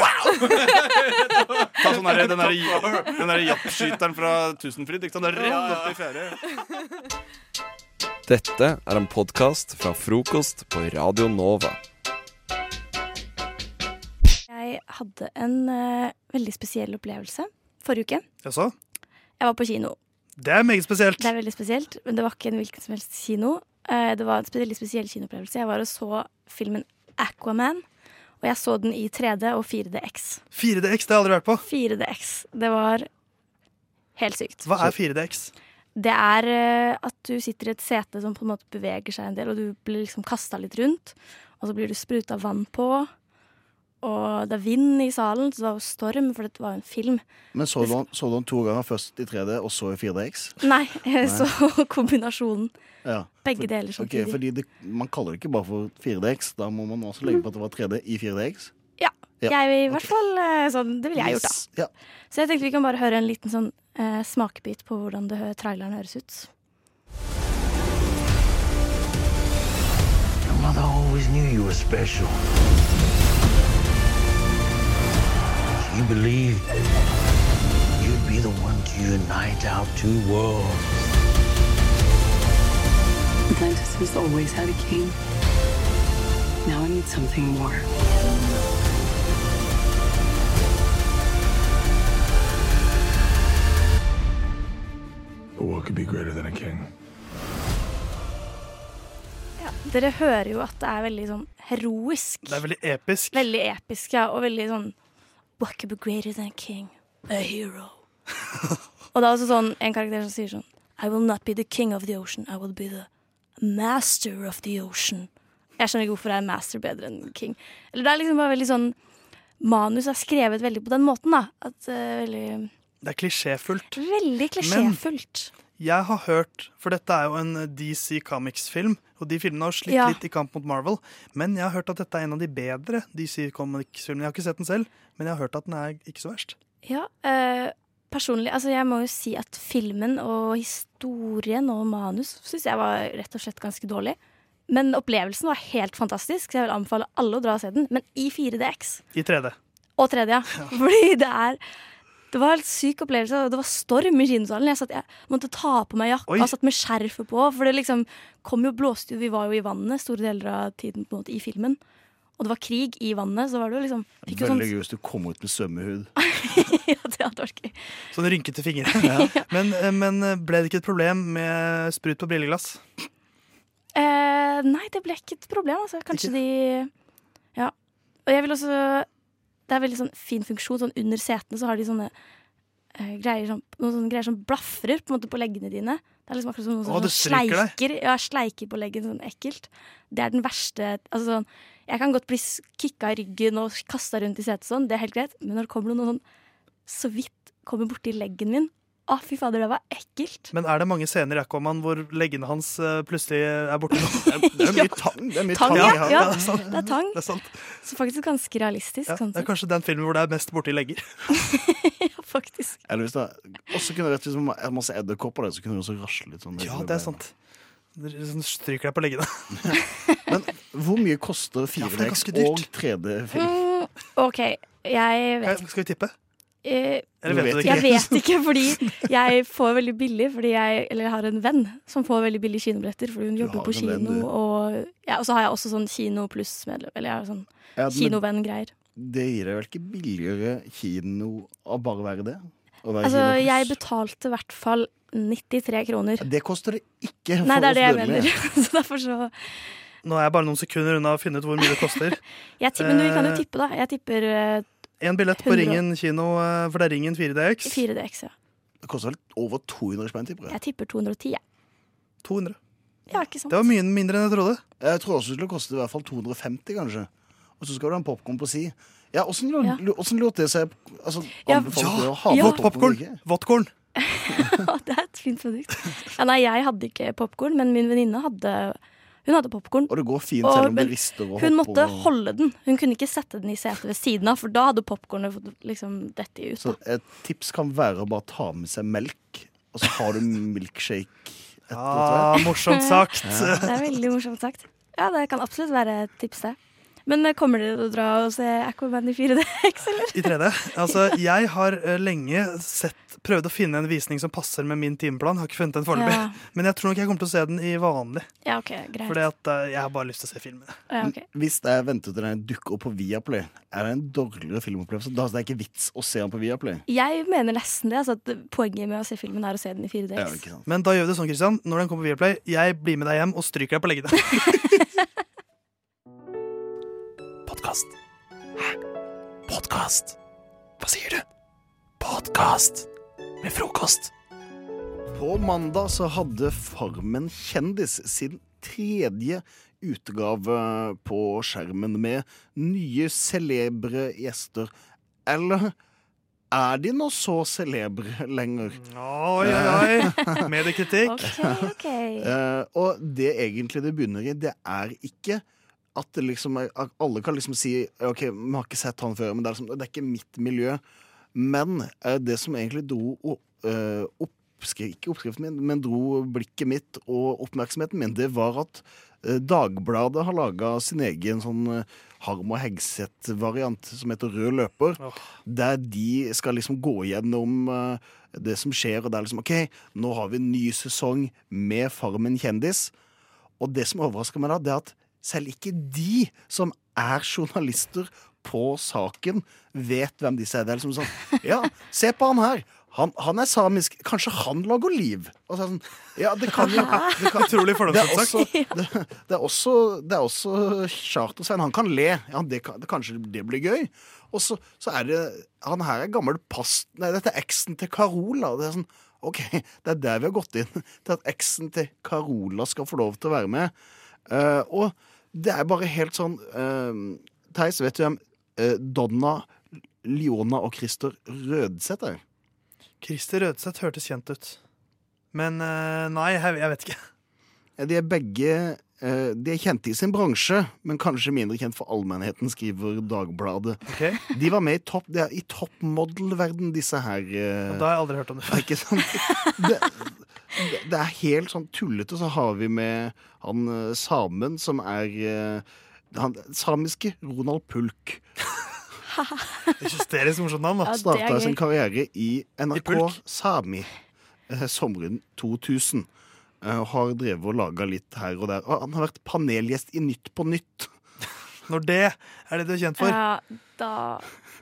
S10: Ta sånn der, den derre den der jappskyteren fra Tusenfryd. Ikke sant? Det er
S6: Ja,
S10: rett
S6: ja.
S10: opp til fjerde.
S9: Dette er en podkast fra frokost på Radio Nova.
S13: Jeg hadde en eh, veldig spesiell opplevelse forrige uke.
S8: Jaså?
S13: Jeg var på kino.
S8: Det er meget spesielt.
S13: Det er veldig spesielt, men det var ikke en hvilken som helst kino. Eh, det var en spe- veldig spesiell kinoopplevelse. Jeg var og så filmen Aquaman, og jeg så den i 3D og 4DX.
S8: 4DX, det har jeg aldri vært på.
S13: 4DX. Det var helt sykt.
S8: Hva er 4DX?
S13: Det er eh, at du sitter i et sete som på en måte beveger seg en del, og du blir liksom kasta litt rundt. Og så blir du spruta vann på, og det er vind i salen, så det var jo storm, for det var jo en film.
S6: Men så du, han, så du han to ganger, først i 3D og så i 4DX?
S13: Nei,
S6: Nei.
S13: så kombinasjonen.
S6: Ja.
S13: Begge deler
S6: Ok,
S13: samtidig.
S6: fordi det, Man kaller det ikke bare for 4DX. Da må man også legge på at det var 3D i 4DX.
S13: Ja.
S6: Ja,
S13: Jeg vil i hvert fall eh, sånn Det ville jeg gjort,
S6: Yes,
S13: da. Så jeg tenkte vi kan bare høre en liten sånn eh, smakebit på hvordan det hø traileren høres ut.
S14: Your mother always knew you were special. You believed you'd be the one to unite our two worlds.
S15: Atlantis has always had a king. Now I need something more.
S16: But what could be greater than a king?
S13: Dere hører jo at det er veldig sånn heroisk.
S8: Det er veldig episk.
S13: Veldig episk, ja, og veldig sånn What could be greater than a king? A hero. Og det er også sånn, en karakter som sier sånn I will not be the king of the ocean, I will be the master of the ocean. Jeg skjønner ikke hvorfor det er master bedre enn king. Eller det er liksom bare veldig sånn Manus er skrevet veldig på den måten, da. At, eh, veldig
S8: Det er klisjéfullt.
S13: veldig klisjéfullt.
S8: Jeg har hørt, for dette er jo en DC Comics-film, og de filmene har slitt
S13: Ja.
S8: litt i kamp mot Marvel, men jeg har hørt at dette er en av de bedre DC Comics-filmene. Jeg har ikke sett den selv, men jeg har hørt at den er ikke så verst.
S13: Ja, eh, personlig Altså, jeg må jo si at filmen og historien og manus syns jeg var rett og slett ganske dårlig. Men opplevelsen var helt fantastisk, så jeg vil anbefale alle å dra og se den. Men i 4DX.
S8: I 3D.
S13: Og tredje, ja. Fordi det er Det var en helt syk opplevelse. og Det var storm i kinosalen. Jeg, satt, jeg måtte ta på meg jakka
S8: Oi.
S13: og satt med skjerfet på. For det liksom kom jo blåste jo Vi var jo i vannet store deler av tiden på en måte i filmen. Og det var krig i vannet, så var det jo liksom fikk jo sånn,
S6: Veldig gøy hvis du kom ut med svømmehud.
S8: Sånn rynkete fingre. men, eh, men ble det ikke et problem med sprut på brilleglass?
S13: eh, Nei, det ble ikke et problem, altså. Kanskje de Ja. Og jeg vil også Det er veldig sånn fin funksjon. Sånn under setene så har de sånne eh, greier, som- noen sånne greier som blafrer på, en måte, på leggene dine. Det er liksom akkurat som noen
S8: Å,
S13: som
S8: det stryker
S13: sleiker, ja, sleiker på leggen. Sånn ekkelt. Det er den verste altså, sånn, Jeg kan godt bli s- kicka i ryggen og kasta rundt i setet sånn, det er helt greit, men når det kommer noen sånn så vidt kommer borti leggen min Å, fy fader, det var ekkelt.
S8: Men er det mange scener i Aquaman hvor leggene hans eh, plutselig er borte? Det
S13: mye Ja.
S8: tang.
S13: er mye Tang, tang i ja. han. Ja,
S8: det er sant.
S13: det er tang.
S8: Det er sant.
S13: Så faktisk ganske realistisk.
S8: Ja,
S13: sånn
S8: det
S13: sett.
S8: er kanskje den filmen hvor det er mest borti legger.
S6: Eller hvis det er- også kunne det vært hvis det var masse edderkopper der, så kunne det også rasle litt sånn.
S8: Ja, det er sant. Det er sånn Stryker deg på leggene.
S6: Hvor mye koster
S8: for det
S6: 4DX
S8: er ganske dyrt.
S6: og 3D-film?
S13: Mm, OK, jeg vet
S8: Skal vi tippe?
S13: Eh,
S6: Eller vet du det
S13: jeg
S6: ikke?
S13: vet ikke, fordi jeg får veldig billig fordi jeg, Eller jeg har en venn som får veldig billig kinobilletter fordi hun jobber
S6: har
S13: på
S6: en
S13: kino.
S6: venn, du.
S13: og, ja, og så har jeg også sånn Kino pluss-medlem. Eller jeg har sånn
S6: Ja, men-
S13: kinovenn-greier.
S6: Det gir deg vel ikke billigere kino av bare å være det? Å være
S13: Altså,
S6: kinokost?
S13: jeg betalte i hvert fall 93 kroner.
S6: Det koster det ikke
S13: Nei,
S8: for
S13: det er det jeg
S8: oss
S13: mener.
S8: dødelige.
S13: så derfor så
S8: Nå er jeg bare noen sekunder unna å finne ut hvor mye det koster.
S13: jeg tipper, Men vi kan jo
S8: Eh,
S13: tippe, da. Jeg tipper eh,
S8: En billett på
S13: 100.
S8: Ringen kino, eh, for det er Ringen 4DX.
S13: 4DX, ja.
S6: Det koster vel over 200 spenn, tipper
S13: Jeg tipper 210, jeg.
S8: 200.
S13: Ja, ikke sant.
S8: Det var mye mindre enn jeg trodde.
S6: Jeg tror også det skulle koste i hvert fall 250, kanskje. Og så skal du ha en popkorn på si. Ja, åssen lå-
S13: Ja.
S6: lå- åssen låter det seg altså,
S13: Ja,
S6: anbefales det å
S8: ja.
S6: ha
S8: Vått
S6: på popcorn
S8: popcorn.
S6: eller ikke?
S8: Våtkorn.
S13: Det er et fint produkt. Ja, nei, jeg hadde ikke popkorn, men min venninne hadde hun hadde popkorn.
S6: Og det går fint selv om det
S13: men
S6: rister og
S13: Hun
S6: hopper
S13: måtte
S6: og-
S13: holde den. Hun kunne ikke sette den i setet ved siden av, for da hadde popkornet fått liksom dette ut.
S6: Så et tips kan være å bare ta med seg melk, og så har du milkshake. etter
S8: Ah,
S6: det.
S8: morsomt sagt.
S13: Ja. Det er veldig morsomt sagt. Ja, det kan absolutt være et tips, det. Men eh, kommer dere til å dra og se Aquaman i 4DX, eller?
S8: I 3D. Altså, jeg har eh, lenge sett, prøvd å finne en visning som passer med min timeplan. Har ikke funnet den foreløpig.
S13: Ja.
S8: Men jeg tror nok jeg kommer til å se den i vanlig.
S13: Ja, ok, greit.
S8: Fordi at eh, jeg har bare lyst til å se filmene.
S13: Ja, ok.
S6: Hvis jeg venter til den dukker opp på Viaplay, er det en dårligere filmopplevelse. Da er det ikke vits å se den på Viaplay.
S13: Jeg mener nesten det. Altså at poenget med å se filmen er å se den i 4DX.
S6: Ja, ikke sant.
S8: Men da gjør vi det sånn, Kristian. Når den kommer på Viaplay, jeg blir med deg hjem og stryker deg på leggene.
S9: Podkast. Hæ? Podkast? Hva sier du? Podkast med frokost.
S6: På mandag så hadde Farmen kjendis sin tredje utgave på skjermen med nye celebre gjester. Eller er de nå så celebre lenger?
S8: Oi, oi, oi. Mediekritikk.
S13: Ok, ok.
S6: Eh, og det egentlig det begynner i, det er ikke at det liksom er, at alle kan liksom si OK, vi har ikke sett han før, men det er, liksom, det er ikke mitt miljø. Men eh, det som egentlig dro o- eh, oppskri- ikke oppskriften min, men dro blikket mitt og oppmerksomheten min, det var at eh, Dagbladet har laga sin egen sånn eh, Harm og Hegseth-variant som heter Rød løper. Der de skal liksom gå gjennom eh, det som skjer, og det er liksom OK, nå har vi en ny sesong med Farmen kjendis. Og det som overrasker meg da, det er at selv ikke de som er journalister på saken, vet hvem disse er. Det er liksom sånn Ja, se på han her! han, han er samisk. Kanskje han lager liv? Og så er det sånn, ja, det kan jo det kan,
S10: Utrolig fordomsfullt
S6: det er
S10: sagt.
S6: også- Det, det er også, det er også Charter-Svein. Han kan le. Ja, det kan, det, kanskje det blir gøy. Og så, så er det Han her er gammel past... Nei, dette er eksen til Carola. Det er sånn, OK, det er der vi har gått inn. Til at eksen til Carola skal få lov til å være med. Eh, og det er bare helt sånn uh, Theis, vet du hvem eh, Donna, Leona og Christer Rødseth er?
S8: Christer Rødseth hørtes kjent ut. Men eh, nei, jeg, jeg vet ikke.
S6: Eh, De er begge eh, De er kjente i sin bransje, men kanskje mindre kjent for allmennheten, skriver Dagbladet. De var med i topp Det er i toppmodellverden, disse her. eh,
S8: Da har jeg aldri hørt om det.
S6: Ja, ikke sant? Det, det er helt sånn tullete. Så har vi med han eh, samen som er eh, han samiske Ronald Pulk.
S8: Hysterisk morsomt navn,
S6: da. Starta sin karriere i NRK Sami eh, sommeren 2000. Eh, og har drevet og laga litt her og der. Og han har vært panelgjest i Nytt på Nytt.
S8: Når det er det du er kjent
S13: Ja, da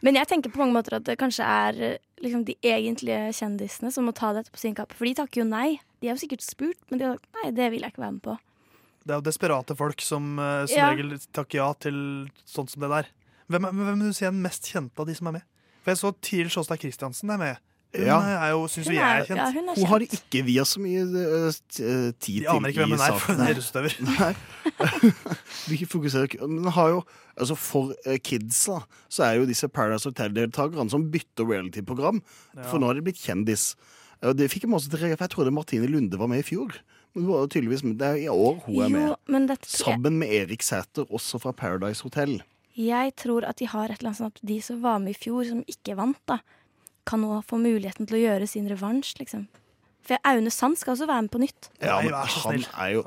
S13: Men jeg tenker på mange måter at det kanskje er eh, liksom, de egentlige kjendisene som må ta dette på sin kappe. For de takker jo nei. De er jo sikkert spurt, men de har sagt nei, det vil jeg ikke være med på.
S8: Det er jo desperate folk som eh, som
S13: Ja.
S8: regel takker ja til sånt som det der. Hvem er, men hvem er du si er den mest kjente av de som er med? For jeg så Tiril Sjåstad Christiansen er med. Hun
S6: Ja.
S8: eh, er jo, syns vi er kjent.
S6: Hun har ikke via så mye eh, t- eh, tid
S8: De aner
S6: til
S8: ikke hvem
S6: i
S8: hun er, for hun er
S6: saken.
S8: russetøver.
S6: Nei. Vi fokuserer ikke Men hun har jo altså For eh, kids da så er jo disse Paradise Hotel-deltakerne som bytter reality-program.
S8: Ja.
S6: For nå har de blitt kjendis. Eh, og Det fikk jeg masse til å reagere, for jeg trodde Martine Lunde var med i fjor. Men hun var jo tydeligvis med. Det er i år hun er
S13: Jo,
S6: med.
S13: men dette tror jeg-
S6: Sammen med Erik Sæther, også fra Paradise Hotel.
S13: Jeg tror at de har et eller annet sånn at de som var med i fjor, som ikke vant, da, kan nå få muligheten til å gjøre sin revansj, liksom. For Aune Sand skal også være med på nytt.
S6: Ja,
S8: Nei,
S6: men
S8: vær så
S6: han
S8: snill.
S6: er jo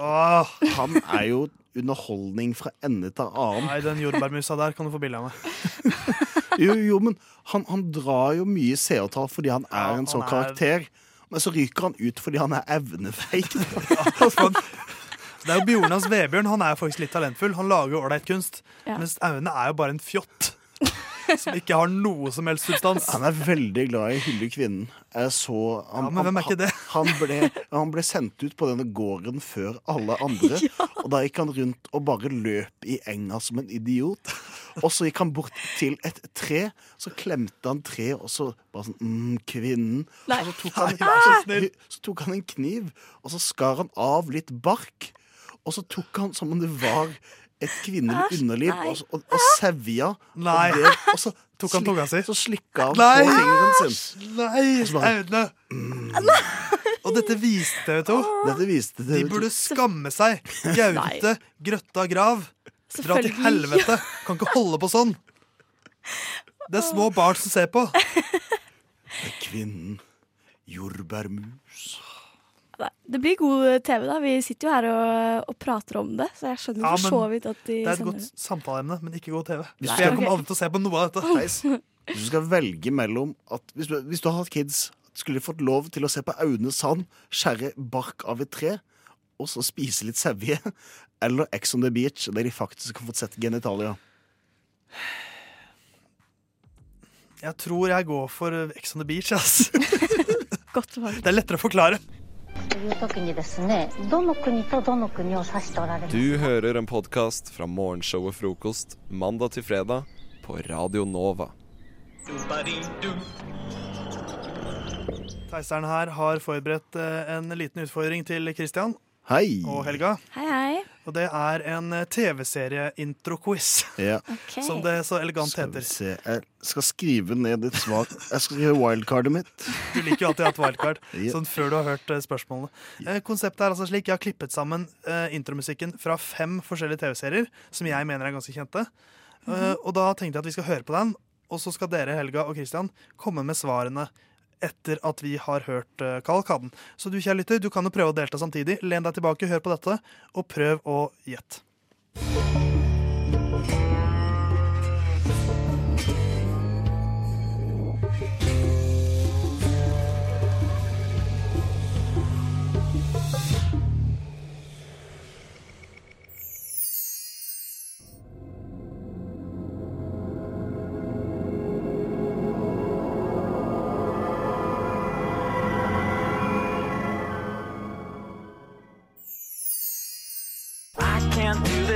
S6: Han er jo underholdning fra ende til annen.
S8: Nei, den jordbærmusa der kan du få bilde av meg.
S6: Jo, jo, men han, han drar jo mye seertall fordi han er en sånn
S8: er-
S6: karakter. Men så ryker han ut fordi han er evnefeig.
S8: Det er jo Bjornas Vebjørn. Han er jo faktisk litt talentfull. Han lager jo ålreit kunst.
S13: Ja.
S8: Mens Aune er jo bare en fjott. Som ikke har noe som helst substans.
S6: Han er veldig glad i å hylle kvinnen. Jeg så han,
S8: Ja, men hvem er ikke det?
S6: Han, han, ble, han ble sendt ut på denne gården før alle andre. Og da gikk han rundt og bare løp i enga som en idiot. Og så gikk han bort til et tre, så klemte han treet, og så bare sånn mm, Kvinnen.
S13: Nei.
S6: Og så tok, han,
S13: Nei, vær så
S6: så, tok han en kniv, og så skar han av litt bark. Og så tok han som om det var et kvinnelig
S8: Æsj,
S6: underliv,
S8: nei.
S6: og, og, og sevja.
S8: Nei.
S6: Og, det, og så
S8: Tok han tunga si?
S6: Så slikka han
S8: Nei!
S6: på fingeren sin.
S8: Nei,
S6: Og så bare-
S8: Aune!
S13: Mm.
S8: Og dette viste TV 2.
S6: Dette viste TV2.
S8: De burde skamme seg. Gaute, Grøtta grav. Dra til
S13: Selvfølgelig.
S8: helvete. Kan ikke holde på sånn. Det er små barn som ser på.
S6: Kvinnen. Jordbærmus.
S13: Nei, Det blir god TV, da. Vi sitter jo her og, og prater om det, så jeg skjønner
S8: Ja,
S13: for
S8: men
S13: så vidt at de
S8: Det er et
S13: sender
S8: godt
S13: det.
S8: samtaleemne, men ikke god TV.
S6: Hvis
S8: For
S6: du-
S8: jeg kommer aldri til å se på noe av dette.
S6: Theis, Hvis du skal velge mellom at hvis du, hvis du har hatt kids, skulle de fått lov til å se på Aune Sand skjære bark av et tre, og så spise litt sevje, eller Ex on the Beach, der de faktisk har fått sett genitalia.
S8: Jeg tror jeg går for eh, Ex on the Beach. Ass.
S13: Godt valg.
S8: Det er lettere å forklare.
S17: という時にですねどの国とどの国を指しておられます
S9: Du hører en podkast fra morgenshowet Frokost mandag til fredag på Radio Nova.
S8: Ah! Theiseren her har forberedt eh, en liten utfordring til Christian
S6: Hei!
S8: og Helga.
S13: Hei, hei.
S8: Og det er en eh, TV-serie-intro-quiz,
S6: Ja.
S8: som det så elegant
S6: Skal vi
S8: heter.
S6: se, jeg skal skrive ned ditt svar. Jeg skal skrive wildcardet mitt.
S8: Du liker jo alltid å ha et wildcard
S6: Ja.
S8: sånn før du har hørt eh, spørsmålene. Eh, Konseptet er altså slik. Jeg har klippet sammen eh, intromusikken fra fem forskjellige TV-serier som jeg mener er ganske kjente. Eh,
S10: Mhm.
S8: Og da tenkte jeg at vi skal høre på den, og så skal dere, Helga og Christian, komme med svarene etter at vi har hørt eh, kavalkaden. Så du, kjære lytter, du kan jo prøve å delta samtidig. Len deg tilbake, hør på dette, og prøv å gjette.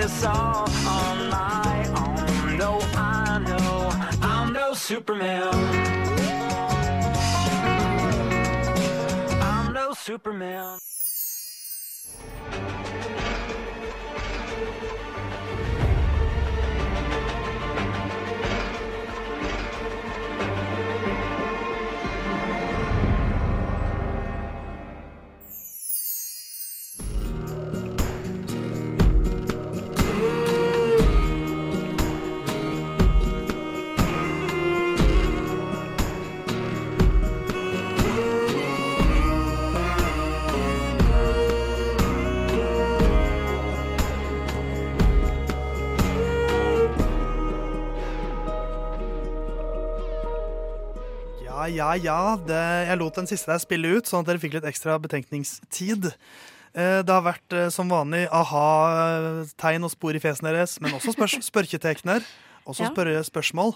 S18: solve on my own. No, I know I'm no Superman. I'm no Superman.
S8: Ja, ja, ja. Det, jeg lot den siste der spille ut, sånn at dere fikk litt ekstra betenkningstid. Eh, Det har vært eh, som vanlig aha-tegn og spor i fjesene deres, men også spørs spørketekener. Også
S13: Ja.
S8: spørre spørsmål.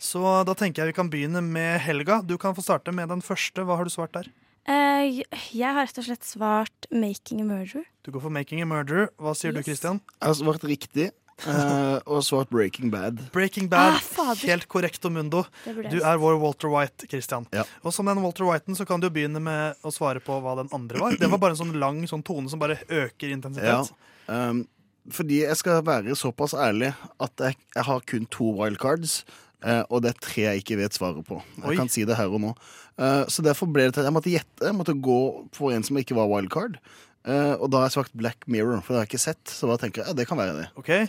S8: Så da tenker jeg vi kan begynne med Helga. Du kan få starte med den første. Hva har du svart der?
S13: Eh, j- jeg har rett og slett svart 'Making a Murderer'.
S8: Du går for 'Making a Murderer'. Hva sier du, Christian?
S6: Jeg har svart riktig, eh, og svart Breaking Bad.
S8: Breaking Bad.
S6: Ah, fader.
S8: Helt korrekt, Omundo.
S6: Det burde jeg
S8: Du
S6: ha
S8: er vår Walter White, Christian.
S6: Ja.
S8: Og som den Walter Whiten så kan du begynne med å svare på hva den andre var. Det var bare en sånn lang sånn tone som bare øker intensitet.
S6: Ja. Um, fordi jeg skal være såpass ærlig at jeg, jeg har kun to wildcards. eh, og det er tre jeg ikke vet svaret på. Jeg
S8: Oi.
S6: kan si det her og nå. Eh, så derfor ble det til at jeg måtte gjette. Jeg måtte gå på en som ikke var wildcard. Eh, og da har jeg sagt Black Mirror, for det har jeg ikke sett. Så da tenker jeg, ja, det kan være det.
S8: Ok,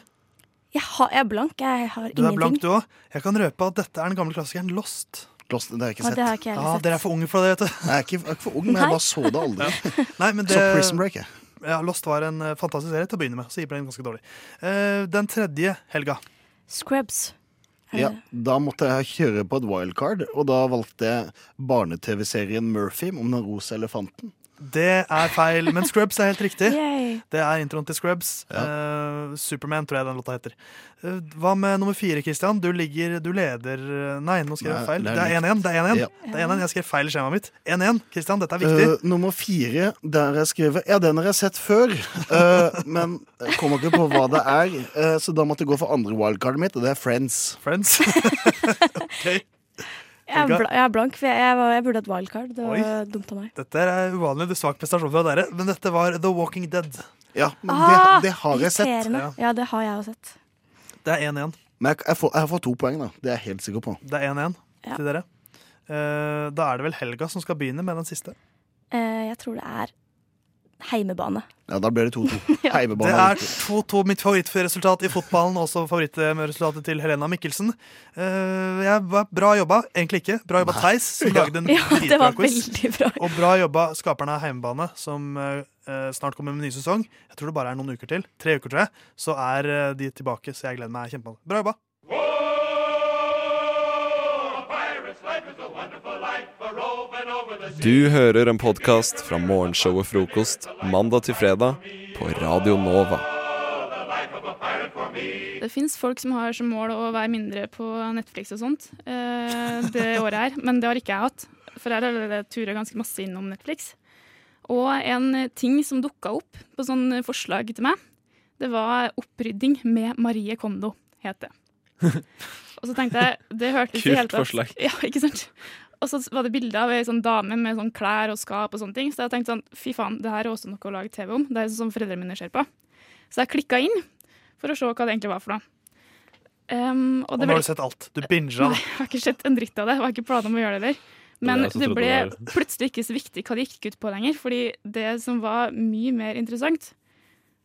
S13: Jeg, har, jeg er blank. Jeg har
S8: Du er
S13: ingenting.
S8: blank, du òg. Jeg kan røpe at dette er den gamle klassikeren Lost.
S6: Lost, Det har jeg
S13: Å, det har ikke jeg heller
S8: Ja,
S13: sett.
S8: dere er for unge for det, vet du.
S6: Jeg er ikke, for ung, men jeg Nei. bare så det aldri.
S8: Nei, men det,
S6: Så Prison Break, jeg.
S8: Ja, Lost var en eh, fantastisk serie til å begynne med, så ble den ganske dårlig. Eh, den tredje, Helga.
S13: Scrubs. Eh, Er
S6: Ja,
S13: det-
S6: da måtte jeg kjøre på et wildcard, og da valgte jeg barne-TV-serien Murphy om den rosa elefanten.
S8: Det er feil, men Scrubs er helt riktig.
S13: Yay.
S8: Det er introen til Scrubs. Eh, Superman, tror jeg den låta heter. Eh, hva med nummer fire, Christian? Du ligger, du leder eh, Nei, nå skrev
S6: Nei,
S8: jeg feil.
S6: det
S8: Det
S6: er
S8: er
S6: likt.
S8: 1-1. Det er 1-1.
S6: Ja.
S8: Det er 1-1. Jeg skrev feil i skjemaet mitt. 1-1. Christian, dette er viktig.
S6: Eh, nummer fire, der har jeg skrevet Ja, den har jeg sett før, eh, men jeg kommer ikke på hva det er. eh, så da måtte jeg gå for andre wildcardet mitt, og det er Friends.
S8: Friends?
S13: Jeg, er
S8: Helga?
S13: bla, jeg er blank, for jeg, jeg, var, jeg burde hatt wildcard. Det var
S8: Oi.
S13: dumt av meg.
S8: Dette er uvanlig det er svak prestasjon fra dere, men dette var The Walking Dead.
S6: Ja,
S13: Ah, irriterende.
S8: Ja.
S13: Ja, det har jeg også sett.
S8: Det er 1-1.
S6: Men jeg, jeg, får, jeg får to poeng, da. Det er jeg helt sikker på.
S8: Det er 1-1 til dere. Eh, da er det vel Helga som skal begynne med den siste.
S13: Eh, jeg tror det er heimebane.
S6: Ja, da blir det 2-2.
S8: Det
S6: Heimebane.
S8: er 2-2, mitt favorittresultat i fotballen. Også favorittresultatet til Helena Mikkelsen. Eh, jeg var bra jobba, egentlig ikke. Bra jobba Theis, som
S13: Ja.
S8: lagde en
S13: Ja, det
S8: dritbra
S13: var
S8: quiz.
S13: veldig bra.
S8: Og bra jobba skaperne av Heimebane, som eh, eh, snart kommer med en ny sesong. Jeg tror det bare er noen uker til. Tre uker, tror jeg. Så er eh, de tilbake, så jeg gleder meg kjempe. Bra jobba.
S9: Du hører en podkast fra morgenshowet Frokost mandag til fredag på Radio Nova.
S19: Det fins folk som har som mål å være mindre på Netflix og sånt eh, det året her, men det har ikke jeg hatt. For jeg har allerede tura ganske masse innom Netflix. Og en ting som dukka opp på sånn forslag til meg, det var 'Opprydding med Marie Kondo', het det. Og så tenkte jeg det hørtes
S12: Kult
S19: i hele tatt-
S12: forslag.
S19: Ja, ikke sant? Og så var det bilder av ei sånn dame med sånn klær og skap og sånne ting. Så jeg tenkte sånn, fy faen, det her er også noe å lage TV om. Det er sånn som foreldrene mine ser på. Så jeg klikka inn for å se hva det egentlig var for noe. Um,
S8: Og
S19: det
S8: nå
S19: ble-
S8: har du sett alt. Du binga
S19: Nei,
S8: det.
S19: jeg har ikke sett en dritt av det. Jeg har ikke planer om å gjøre det heller. Men
S8: Det var jeg som
S19: det
S8: trodde
S19: ble
S8: det
S19: plutselig ikke så viktig hva det gikk ut på lenger, fordi det som var mye mer interessant,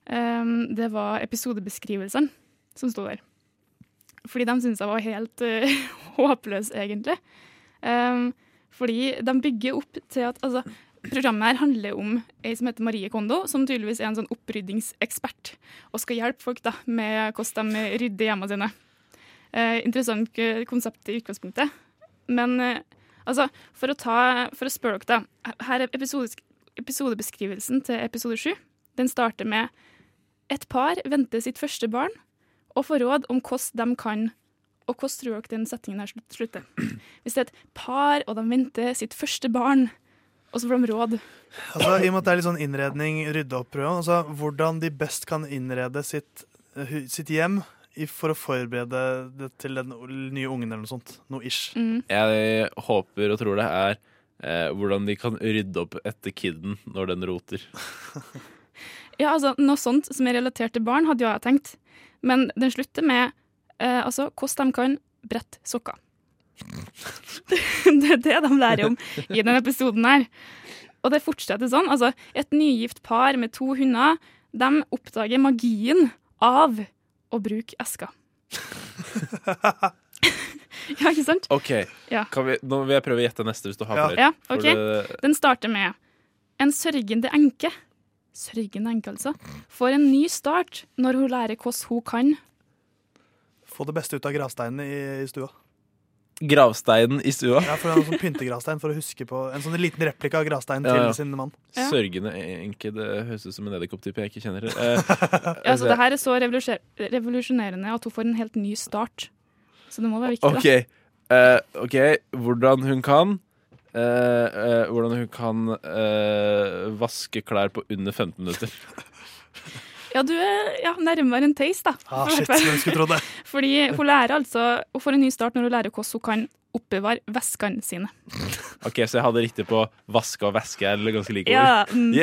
S19: ehm, det var episodebeskrivelsene som sto der. Fordi de syntes jeg var helt eh, håpløs, egentlig. Ehm, fordi de bygger opp til at altså, Programmet her handler om ei som heter Marie Kondo, som tydeligvis er en sånn oppryddingsekspert og skal hjelpe folk da, med hvordan de rydder hjemmene sine. Eh, interessant eh, konsept i utgangspunktet. Men eh, altså, for å, ta, for å spørre dere, da. Her er episodisk- episodebeskrivelsen til episode sju. Den starter med et par venter sitt første barn og får råd om hvordan de kan Og hvordan tror dere den setningen her slut- slutter? Hvis det er et par, og de venter sitt første barn, og så får de råd
S8: Altså, I og med at det er litt sånn innredning, rydde opp-prøve, altså, hvordan de best kan innrede sitt hu- sitt hjem i- for å forberede det til den nye ungen eller noe sånt. Noe ish.
S19: Mm.
S20: Jeg håper og tror det er eh, hvordan de kan rydde opp etter kiden når den roter.
S19: Ja, altså, Noe sånt som er relatert til barn, hadde jo jeg tenkt. Men den slutter med eh, altså, hvordan de kan brette sokker. det er det de lærer om i denne episoden her. Og det fortsetter sånn. Altså, et nygift par med to hunder de oppdager magien av å bruke esker. ja, ikke sant?
S20: OK,
S19: Ja.
S20: kan vi, nå vil jeg prøve å gjette neste hvis du har flere.
S19: Ja,
S20: For eh,
S19: ok.
S20: det-
S19: Den starter med En sørgende enke Sørgende enke, altså. Får en ny start når hun lærer hvordan hun kan.
S8: Få det beste ut av gravsteinene i, i stua.
S20: Gravsteinen i stua.
S8: Ja, for det er noen sånn pyntegravstein for å huske på En sånn liten replika av gravsteinen
S20: Ja, ja.
S8: til sin mann.
S20: Sørgende enke. Det høres ut som en edderkopptype jeg ikke kjenner. Eh,
S19: Ja, altså, det her er så revolusjer- revolusjonerende at hun får en helt ny start. Så det må være viktig. da.
S20: OK. eh, ok, hvordan hun kan eh, eh, Hvordan hun kan eh, vaske klær på under 15 minutter.
S19: Ja, du er ja, nærmere en taste, da.
S20: Ah,
S19: I hvert
S20: shit,
S19: fall.
S20: hvem skulle trodd det?
S19: Fordi hun lærer altså Hun får en ny start når hun lærer hvordan hun kan oppbevare veskene sine.
S20: Ok, Så jeg hadde riktig på vaske og væske. Jeg er ganske like
S19: Ja,
S20: ord.
S19: mm,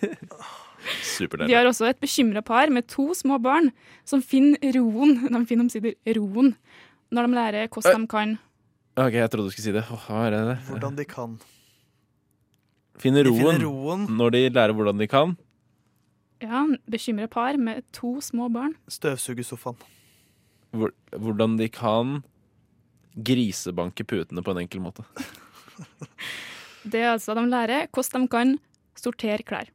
S20: Yay!
S19: De har
S20: Superdeilig.
S19: også et bekymra par med to små barn som finner roen De finner omsider roen når de lærer hvordan
S8: Eh.
S19: de kan
S20: Ok, jeg trodde du skulle si det. Åh, hva er det der?
S8: Hvordan de kan.
S20: Finne
S8: De
S20: roen,
S8: finner roen.
S20: når de lærer hvordan de kan.
S19: Ja, bekymra par med to små barn.
S8: Støvsuge sofaen.
S20: Hvor, hvordan de kan grisebanke putene på en enkel måte.
S19: Det er altså de lærer hvordan de kan sortere klær.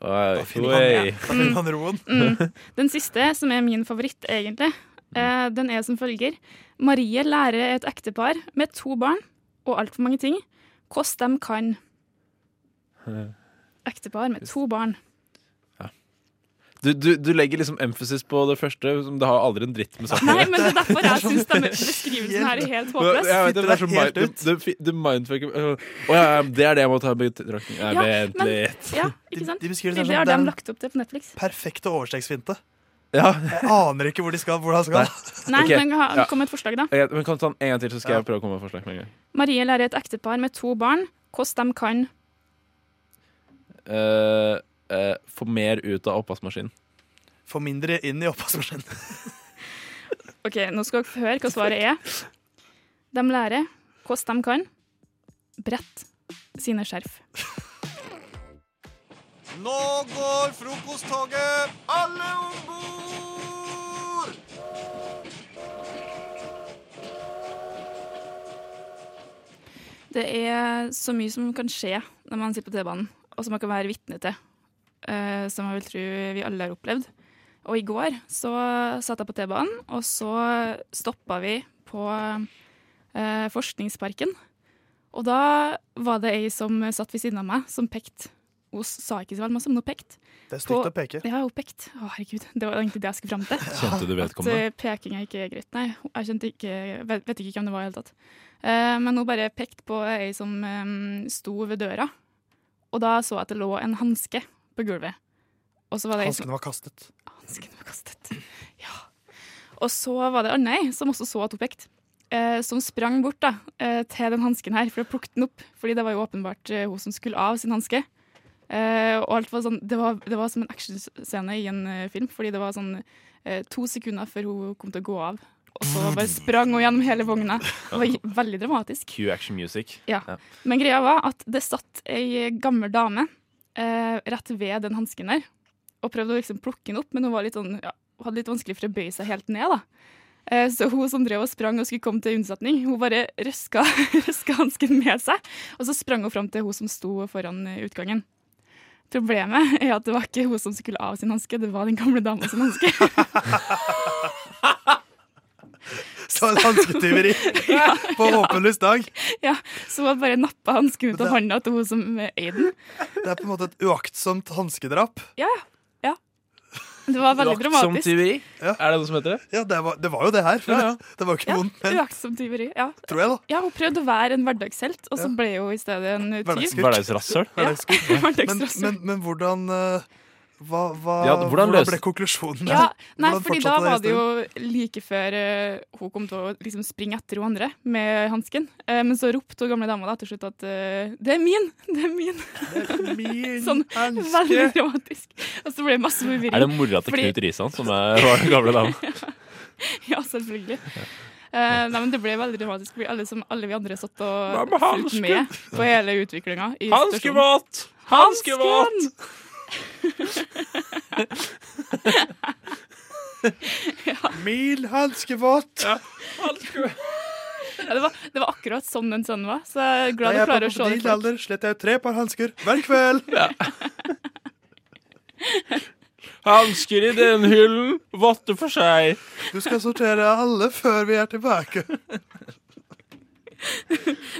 S20: Oi,
S8: finner han-
S20: oi.
S8: ja, da finner han roen.
S19: Mm. Den siste, som er min favoritt, egentlig,
S8: Mm.
S19: eh, den er som følger. Marie lærer et ektepar med to barn og altfor mange ting hvordan de kan mm. Ektepar med to barn.
S20: Du, du, du legger liksom emphasis på det første, som det har aldri en dritt med saken å
S19: Nei,
S20: gjøre.
S19: men det er derfor jeg syns beskrivelsen her er helt håpløs.
S20: Jeg vet det, det er så mind, det, det, det mindfucker øh, Å ja, ja, det er det jeg må ta i betraktning. Nei,
S19: Ja,
S20: vent
S19: men-
S20: litt.
S19: Ja, ikke sant?
S8: De beskriver
S19: det Det
S8: det som sånn
S19: har de
S8: den-
S19: lagt opp til på Netflix.
S8: Perfekte overstegsfinte.
S20: Ja.
S8: Jeg aner ikke hvor de skal. Hvor de skal.
S19: Nei,
S20: Ok,
S19: men ha-
S20: ja.
S19: kom med et forslag, da.
S20: Ok, men kom sånn en gang til, så skal jeg prøve å komme med forslag. Med en gang.
S19: Marie lærer et ektepar med to barn hvordan de kan
S20: Eh, eh, få mer ut av oppvaskmaskinen.
S8: Få mindre inn i oppvaskmaskinen.
S19: OK, nå skal dere få høre hva svaret er. De lærer hvordan de kan brette sine skjerf.
S18: Nå går frokosttoget! Alle om bord!
S19: Det er så mye som kan skje når man sitter på T-banen, og som man kan være vitne til. eh, som jeg vil tro vi alle har opplevd. Og i går så satt jeg på T-banen, og så stoppa vi på eh, Forskningsparken. Og da var det ei som satt ved siden av meg, som pekte. Hun sa ikke så veldig masse, men hun pekte.
S8: Det er
S19: på-
S8: stygt å peke.
S19: Ja, hun pekte. Å, herregud. Det var egentlig det jeg skulle fram til.
S8: Kjente du
S19: At
S8: vedkommende?
S19: eh, peking er ikke greit. Nei, jeg kjente ikke, vet, vet ikke hvem det var i hele tatt. Eh, men hun bare pekte på ei som eh, sto ved døra, og da så jeg at det lå en hanske på gulvet. Og så var det ei som
S8: Hanskene var kastet.
S19: Hanskene var kastet. Ja. Og så var det Arnei, som også så at hun pekte, eh, som sprang bort da, eh, til den hansken her for å plukke den opp. Fordi det var jo åpenbart eh, hun som skulle av sin hanske. Eh, og alt var sånn, det, var, det var som en actionscene i en eh, film, fordi det var sånn eh, to sekunder før hun kom til å gå av. Og så bare sprang hun gjennom hele vogna. Det var j- veldig dramatisk.
S20: Q action music.
S19: Ja. Men greia var at det satt ei gammel dame eh, rett ved den hansken der, og prøvde å liksom plukke den opp, men hun var litt sånn, ja, hun hadde litt vanskelig for å bøye seg helt ned. da. Eh, så hun som drev og sprang og skulle komme til unnsetning, hun bare røska, røska hansken med seg, og så sprang hun fram til hun som sto foran eh, utgangen. Problemet er at det var ikke hun som skulle av sin hanske, det var den gamle dama sin hanske.
S8: Så en hansketyveri på åpenlyst dag.
S19: Ja, så hun bare nappa hansken ut av hånda til hun som eh, eide den.
S8: Det er på en måte et uaktsomt hanskedrap.
S19: Ja, ja. Det var veldig dramatisk.
S20: Er det noe som heter det?
S8: Ja, det var, det var jo det her. for Det var jo ikke vondt. men-
S19: Uaktsomt tyveri. Ja.
S8: Tror jeg, da.
S19: Ja, hun prøvde å være en hverdagshelt, og så ble hun i stedet en tyv.
S8: Hverdagskurt.
S20: Hverdagsrasshøl.
S8: Hverdagskult.
S19: Hverdagsrasshøl.
S8: Men, men, men hvordan eh, Hva, hva,
S20: Ja, hvordan
S8: hvordan,
S20: løste-
S8: ble konklusjonen?
S19: Ja, nei,
S8: Hvordan
S19: fordi da
S8: fortsatte
S19: var det jo
S8: historien?
S19: like før eh, hun kom til å liksom springe etter hun andre med hansken. Eh, men så ropte hun gamle dama da til slutt at eh, 'det er min', 'det er min'. sånn veldig dramatisk. Og så ble det masse forvirring.
S20: Er det mora til
S19: Fordi-
S20: Knut Risan som er, var den gamle dama?
S19: ja, selvfølgelig. Eh, nei, men Det ble veldig dramatisk, fordi alle, som, alle vi andre satt
S20: Hva
S19: og
S20: med
S19: fulgte
S20: hansken?
S19: med på hele utviklinga. i situasjonen.
S20: Hanskemat! Hanskemat!
S8: Mil hanskevåt!
S19: Ja, det, var, det var akkurat sånn den sønnen var, så jeg er glad
S8: da
S19: du
S8: jeg
S19: klarer å
S8: på
S19: se det.
S8: din alder slet jeg tre par hansker hver kveld.
S20: Hansker i den hyllen, votter for seg.
S8: Du skal sortere alle før vi er tilbake.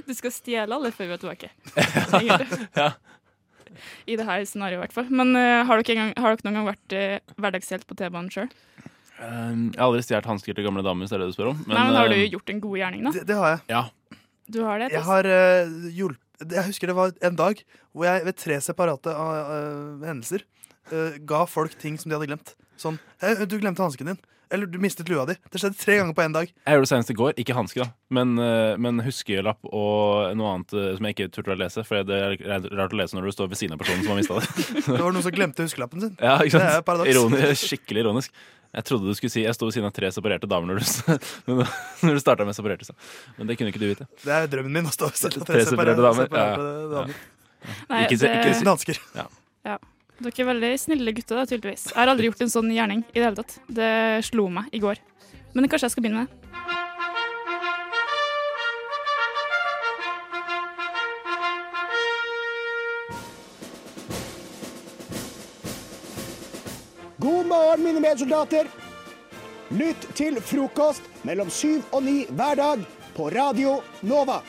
S19: Du skal stjele alle før vi er tilbake. Egentlig.
S20: Ja.
S19: I det her scenarioet, i hvert fall. Men eh, har, dere en gang, har dere noen gang vært uh, hverdagshelt på T-banen sjøl?
S20: Um, jeg har aldri stjålet hansker til gamle damer, hvis det er det du spør om.
S19: Nei, men har du
S20: um,
S19: gjort en god gjerning, da?
S8: Det, det har jeg.
S20: Ja.
S19: Du har det?
S8: Jeg
S19: Tess?
S8: har eh, hjulpet Jeg husker det var en dag hvor jeg ved tre separate eh, eh, hendelser eh, ga folk ting som de hadde glemt. Sånn «Hei, 'Du glemte hansken din.' Eller 'Du mistet lua di.' Det skjedde tre ganger på én dag.
S20: Jeg gjorde det senest i går. Ikke hanske, da. Men, eh, men huskelapp og noe annet eh, som jeg ikke turte å lese. For det er rart å lese når du står ved siden av personen som har mista det.
S8: Det var noen som glemte huskelappen sin.
S20: Ja, ikke sant?
S8: Det er jo et paradoks.
S20: Ironi- skikkelig ironisk. Jeg trodde du skulle si jeg sto ved siden av tre separerte damer når du, s- når du starta med separerte. sa. Men det kunne ikke du vite.
S8: Det er drømmen min å stå ved siden av
S20: Tre separerte damer.
S8: separate
S20: Ja.
S8: damer.
S19: Nei,
S20: Ikke se-
S19: det-
S20: ikke se-
S8: Dansker.
S20: Ja.
S19: Ja. Dere er veldig snille gutter, da, tydeligvis. Jeg har aldri gjort en sånn gjerning i det hele tatt. Det slo meg i går. Men kanskje jeg skal begynne med det.
S21: God morgen, mine medsoldater. Lytt til frokost mellom syv og ni hver dag på Radio Nova.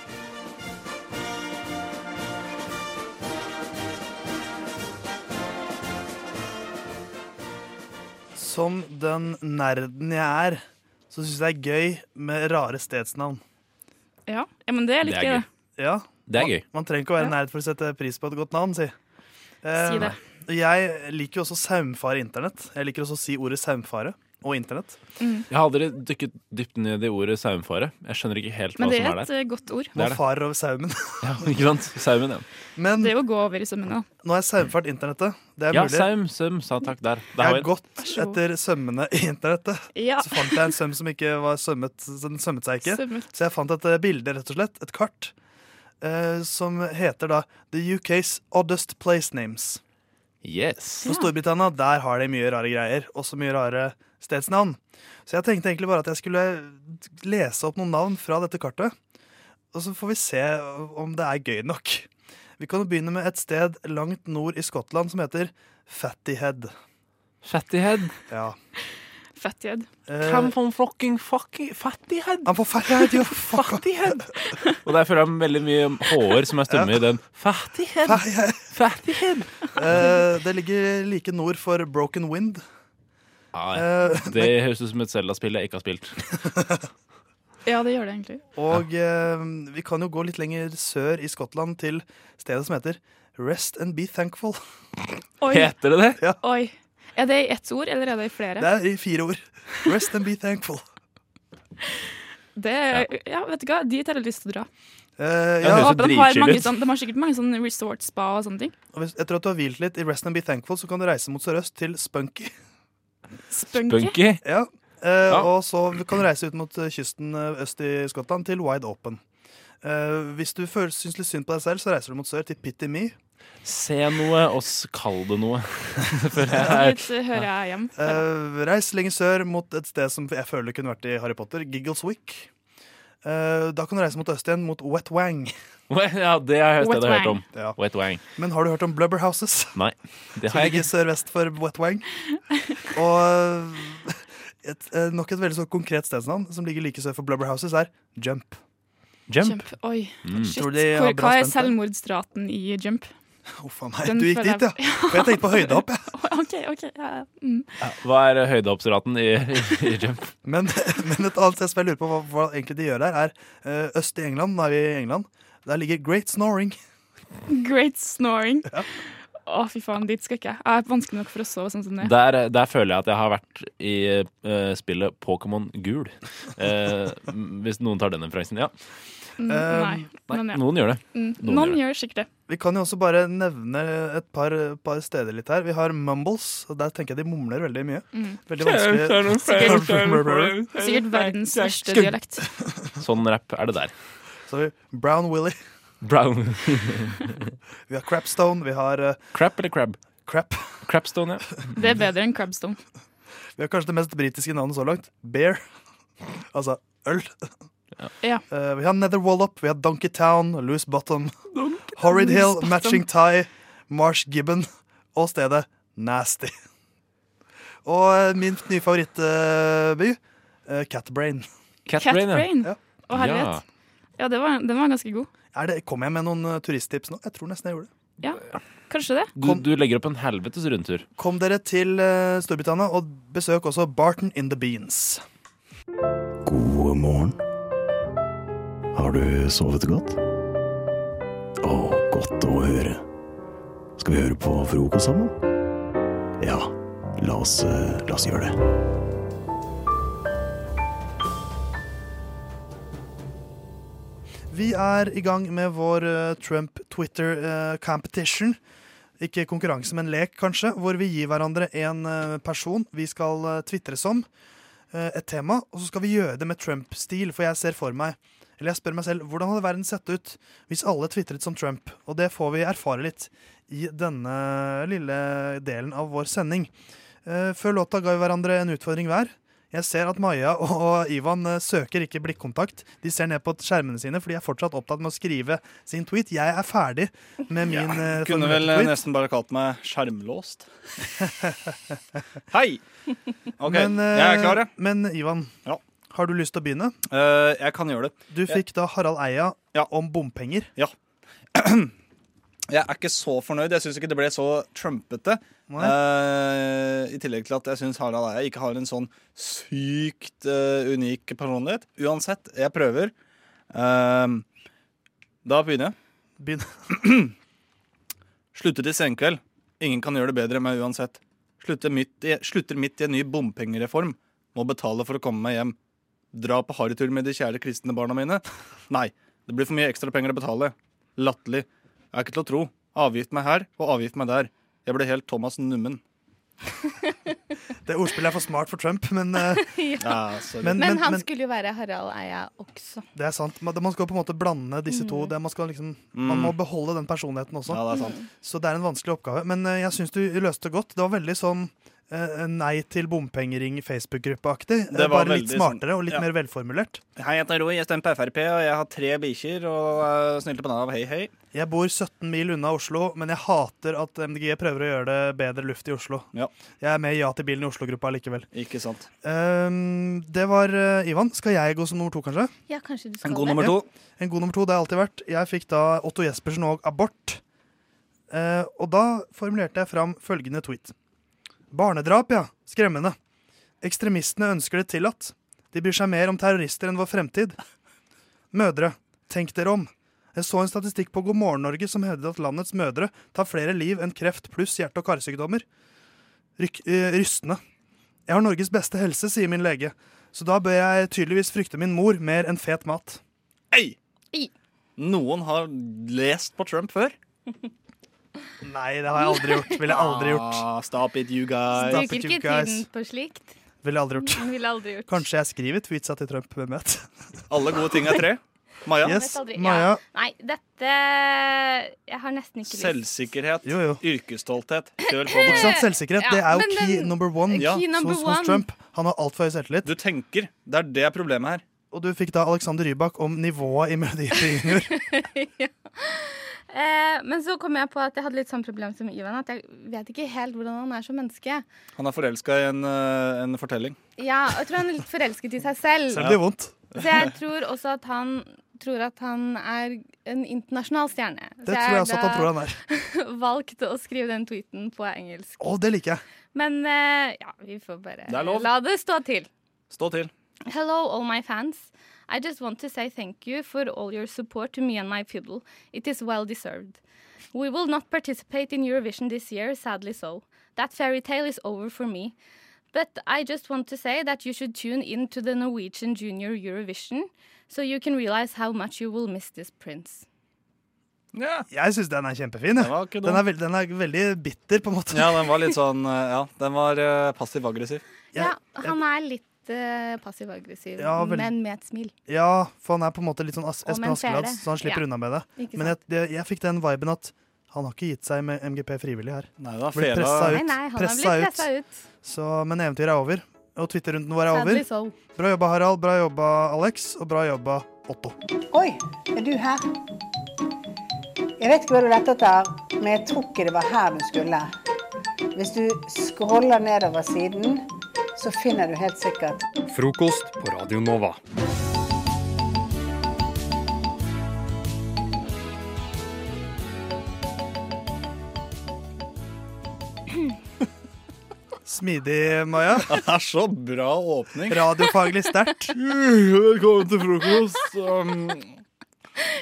S8: Som den nerden jeg er, så syns jeg det er gøy med rare stedsnavn.
S19: Ja, ja men det er litt gøy, det.
S8: Ja.
S20: Det er gøy.
S8: Man, man trenger ikke å være nerd for å sette pris på et godt navn, si. Eh,
S19: Si det.
S8: Jeg liker jo også saumfare internett. Jeg liker også å si ordet saumfare og internett.
S19: Mm.
S20: Jeg har aldri dykket dypt ned i ordet saumfare. Jeg skjønner ikke helt hva
S19: Men det
S20: som
S19: er
S20: er
S19: et
S20: der.
S19: eh, godt ord.
S20: Det er
S8: Man
S20: det.
S8: farer over saumen.
S20: Ja, ikke sant? Saumen, ja.
S8: Men
S19: Det er jo å gå over i sømmene, da.
S8: nå har jeg saumfart internettet. Det er
S20: Ja,
S8: mulig.
S20: saum, saum, sa takk der. Der
S8: Jeg
S20: har
S8: har
S20: vi den.
S8: gått etter sømmene i internettet.
S19: Ja.
S8: Så fant jeg en søm som ikke var sømmet. så Den sømmet seg ikke.
S19: Sømmet.
S8: Så jeg fant et eh, bilde, rett og slett, et kart, eh, som heter da The UK's Oddest Place Names.
S20: Yes.
S8: Så Storbritannia, der har de mye rare greier. Også mye rare stedsnavn. Så jeg tenkte egentlig bare at jeg skulle lese opp noen navn fra dette kartet. Og så får vi se om det er gøy nok. Vi kan jo begynne med et sted langt nord i Skottland som heter Fattyhead.
S20: Fattyhead?
S8: Ja.
S19: Fattighead.
S8: Eh,
S20: from fucking fucking fattighead.
S8: Han får fattighead, jo.
S20: Fattighead. Og der føler jeg meg veldig mye hår som er stumme i den. Fattighead. Fattighead.
S8: Eh, det ligger like nord for Broken Wind.
S20: Nei,
S8: Eh,
S20: det høres ut som et Zelda-spill jeg ikke har spilt.
S19: Ja, det gjør det egentlig.
S8: Og eh, vi kan jo gå litt lenger sør i Skottland til stedet som heter Rest and be thankful.
S19: Oi.
S20: Heter det det?
S8: Ja.
S19: Oi. Er det i ett ord, eller er det i flere?
S8: Det er i fire ord. Rest and be thankful.
S19: Det er, ja, vet du hva, dit har jeg lyst til å dra.
S8: Eh,
S19: Jeg
S8: ja.
S19: håper de, har mange sånn, de har sikkert mange sånn resort spa og sånne ting.
S8: Og hvis- Etter at du har hvilt litt i Rest and be thankful, så kan du reise mot sørøst til Spunky.
S19: Spunky?
S20: Spunky?
S8: Ja. Eh,
S20: Ja.
S8: Og så kan du reise ut mot eh, kysten eh, øst i Skottland til Wide Open. Eh, hvis du føler- syns litt synd på deg selv, så reiser du mot sør til Pitty Me.
S20: Se noe, og s- kall det noe. Føler jeg
S19: Dit eh, hører jeg hjem.
S8: Eh, reis lenger sør mot et sted som jeg føler kunne vært i Harry Potter, Giggleswick. Eh, da kan du reise mot øst igjen, mot Wet Wang.
S20: er Ja, det har jeg hørt, det har jeg hørt om.
S8: Ja.
S20: Wet wang.
S8: Men har du hørt om Blubberhouses?
S20: Nei, det
S8: Som
S20: har jeg
S8: ligger
S20: ikke.
S8: sørvest for Wet Wang. Og et, eh, nok et veldig så konkret stedsnavn som ligger like sør for Blubberhouses, er Jump.
S19: Jump. Oi.
S8: Mm.
S19: Shit.
S8: Tror de har
S19: Hvor,
S8: bra
S19: hva er
S8: spent der?
S19: selvmordsraten i jump?
S8: Huff a meg,
S19: Den
S8: du gikk
S19: føler
S8: dit, ja. For jeg tenkte på høydehopp, jeg.
S19: OK, OK. Ja, ja. Mm.
S20: Hva er høydeoppsraten i, i jump?
S8: Men, men et annet sted som jeg lurer på hva, hva egentlig de gjør der, er eh, øst i England. Nå er vi i England. Der ligger Great Snoring.
S19: Great Mm. snoring. Å, fy faen, dit skal ikke jeg. Jeg er vanskelig nok for å sove sånn som det.
S20: Der, der føler jeg at jeg har vært i eh, spillet Pokémon gul. Eh, m- hvis noen tar den referansen. Ja.
S19: Mm,
S8: Eh,
S19: nei, men ja.
S20: Noen gjør det.
S19: Mm,
S20: Noen
S19: noen gjør sikkert det.
S8: Vi kan jo også bare nevne et par, par steder litt her. Vi har Mumbles. og Der tenker jeg de mumler veldig mye.
S19: Mm.
S8: Veldig vanskelig.
S19: Sikkert, sikkert verdens verste dialekt.
S20: Sånn rapp er det der.
S8: Så har vi Brown Willy.
S20: Brown.
S8: Vi har Crapstone. Vi har eh,
S20: Crap eller crab?
S8: Crap.
S20: Crapstone, ja.
S19: Det er bedre enn Crabstone.
S8: Vi har kanskje det mest britiske navnet så langt. Bear. Altså øl.
S19: Ja.
S8: Eh, vi har Nether Wallop, vi har Donkey Town, Loose Bottom,
S19: Donkey-
S8: Horrid
S19: Loose
S8: Hill,
S19: Bottom.
S8: Matching Tie, Marsh Gibbon og stedet Nasty. Og eh, min nye favorittby, uh, Catbrain.
S19: Catbrain, ja. Catbrain?
S8: Ja.
S19: Å, herlighet. Ja, det var, den var ganske god.
S8: Er det, kom jeg med noen eh, turisttips nå? Jeg tror nesten jeg gjorde det.
S19: Ja, kanskje det.
S20: Du, du legger opp en helvetes rundtur.
S8: Kom dere til eh, Storbritannia, og besøk også Barton in the Beans.
S16: God morgen. Har du sovet godt? Å, godt å høre. Skal vi høre på frokost sammen? Ja, la oss, eh, la oss gjøre det.
S8: Vi er i gang med vår eh, Trump Twitter eh, competition. Ikke konkurranse, men lek, kanskje. Hvor vi gir hverandre en eh, person vi skal uh, tvitre som. eh, et tema. Og så skal vi gjøre det med Trump-stil, for jeg ser for meg Eller jeg spør meg selv hvordan hadde verden sett ut hvis alle tvitret som Trump? Og det får vi erfare litt i denne lille delen av vår sending. Eh, før låta ga vi hverandre en utfordring hver. Jeg ser at Maja og Ivan eh, søker ikke blikkontakt. De ser ned på skjermene sine, for de er fortsatt opptatt med å skrive sin tweet. Jeg er ferdig med min eh,
S10: Kunne vel
S8: formulerte tweet.
S10: nesten bare kalt meg skjermlåst. Hei! OK,
S8: Men, eh,
S10: jeg er klar, jeg.
S8: Men Ivan, har du lyst til å begynne?
S10: Eh, jeg kan gjøre det.
S8: Du fikk da Harald Eia om bompenger.
S10: Ja. Jeg er ikke så fornøyd. Jeg syns ikke det ble så trumpete. Eh, I tillegg til at jeg syns Harald Eia ikke har en sånn sykt eh, unik personlighet. Uansett, jeg prøver. Ehm, da begynner jeg. Sluttet i senkveld. Ingen kan gjøre det bedre enn meg uansett. Slutter midt, i, slutter midt i en ny bompengereform. Må betale for å komme meg hjem. Dra på harrytur med de kjære kristne barna mine. Nei, det blir for mye ekstra penger å betale. Latterlig. Jeg er ikke til å tro. Avgift meg her og avgift meg der. Jeg ble helt Thomas Nummen.
S8: Det ordspillet er for smart for Trump, men, eh,
S10: Ja, sorry.
S8: men,
S4: Men,
S8: men,
S4: han
S8: men
S4: skulle jo være Harald Eia også.
S8: det er sant. Man man skal på en måte blande disse to. Det, man, skal liksom, man må beholde den personligheten også.
S10: Mm. Ja, det er sant. Mm.
S8: Så det er en vanskelig oppgave. Men eh, jeg syns du løste det godt. Det var veldig sånn eh, nei til bompengering Facebook-gruppeaktig.
S10: Det var
S8: Bare litt
S10: veldig sånn-
S8: smartere og litt
S10: ja.
S8: mer velformulert.
S10: Hei, jeg heter Roy, jeg stemmer på Frp, og jeg har tre bikkjer og uh, snilte på Nav. Hei, hei.
S8: Jeg bor 17 mil unna Oslo, men jeg hater at MDG prøver å gjøre det bedre luft i Oslo. Jeg er med i Ja til bilen i Oslo-gruppa likevel.
S10: Ikke sant.
S8: Ehm, det var eh, Ivan. Skal jeg gå som nummer to, kanskje?
S4: Ja, kanskje du skal
S8: Ja, En god nummer to, det har jeg alltid vært. Jeg fikk da Otto Jespersen og abort. Eh, og da formulerte jeg fram følgende tweet. Barnedrap, ja. Skremmende. Ekstremistene ønsker det tillatt. De bryr seg mer om terrorister enn vår fremtid. Mødre, tenk dere om. Jeg så en statistikk på God morgen Norge som hevdet at landets mødre tar flere liv enn kreft pluss hjerte- og karsykdommer. Ryk, eh, rystende. Jeg har Norges beste helse, sier min lege, så da bør jeg tydeligvis frykte min mor mer enn fet mat.
S10: Ei! Noen har lest på Trump før?
S8: Nei, det har jeg aldri gjort. Ville jeg aldri gjort.
S10: Ah, stop it, you guys.
S4: Bruker ikke tiden på slikt.
S8: Ville jeg aldri gjort.
S4: Mm, ville aldri gjort.
S8: Kanskje jeg skriver tweetsa til Trump, hvem vet?
S10: Alle gode ting er tre. Maja?
S4: Jeg
S8: Yes,
S4: vet aldri.
S8: Maja.
S4: Ja. Nei, dette Jeg har nesten ikke lyst.
S10: Selvsikkerhet. Yrkesstolthet. Kjør på.
S8: Ikke sant? Selvsikkerhet. det er
S4: men
S8: jo key
S4: den-
S8: number one
S10: Ja.
S8: hos-
S4: number
S8: hos,
S4: one.
S8: Trump. Han har altfor høy selvtillit.
S10: Du tenker. Det er det problemet her.
S8: Og du fikk da Alexander Rybak om nivået i Melodi Junior.
S4: Eh, men så kom jeg på at jeg hadde litt sånn problem som Ivan. At jeg vet ikke helt hvordan han er som menneske.
S10: Han er forelska i en, eh, en fortelling.
S4: Ja, og jeg tror han er litt forelsket i seg selv.
S10: Selv om det gjør vondt.
S4: Så jeg tror også at han tror at han er en internasjonal stjerne. Så
S8: Det tror jeg også at han tror han er.
S4: er. Valgte å skrive den tweeten på engelsk.
S8: Å, det liker jeg.
S4: Men eh, ja, vi får bare
S10: Det er lov.
S4: la det stå til.
S10: Stå til.
S4: Hello, all my fans. I just want to say thank you for all your support to me and my fiddle. It is well deserved. We will not participate in Eurovision this year, sadly so. That fairy tale is over for me. But I just want to say that you should tune in to the Norwegian Junior Eurovision, so you can realize how much you will miss this prince.
S8: Jeg syns den er kjempefin. jeg.
S10: dum.
S8: Den er, veld, den er veldig bitter, på en måte.
S10: Ja, den var litt sånn eh, Ja, den var eh, passiv-aggressiv.
S4: Ja, han er litt eh, passiv-aggressiv,
S8: Ja, vel-
S4: men med et smil.
S8: Ja, for han er på en måte litt sånn As
S4: Og
S8: Espen
S4: med en
S8: Askeladd,
S4: fele.
S8: så han slipper
S4: Ja.
S8: unna med det.
S4: Ikke
S8: Men jeg, det, jeg fikk den viben at han har ikke gitt seg med MGP frivillig her.
S10: Nei, da,
S8: Blitt
S10: fela-
S8: pressa ut.
S4: Nei, nei, han har
S8: pressa
S4: blitt pressa ut.
S8: Så, men eventyret er over. Og Twitter-runden vår er
S4: Sadly
S8: over.
S4: so.
S8: Bra jobba, Harald. Bra jobba, Alex. Og bra jobba, Otto.
S5: Oi, er du her? Jeg vet ikke hva du lette etter, men jeg tror ikke det var her du skulle. Hvis du scroller nedover siden, så finner du helt sikkert
S22: Frokost på Radio Nova.
S8: Smidig, Maja.
S10: Det er så bra åpning.
S8: Radiofaglig sterkt.
S10: Velkommen til frokost.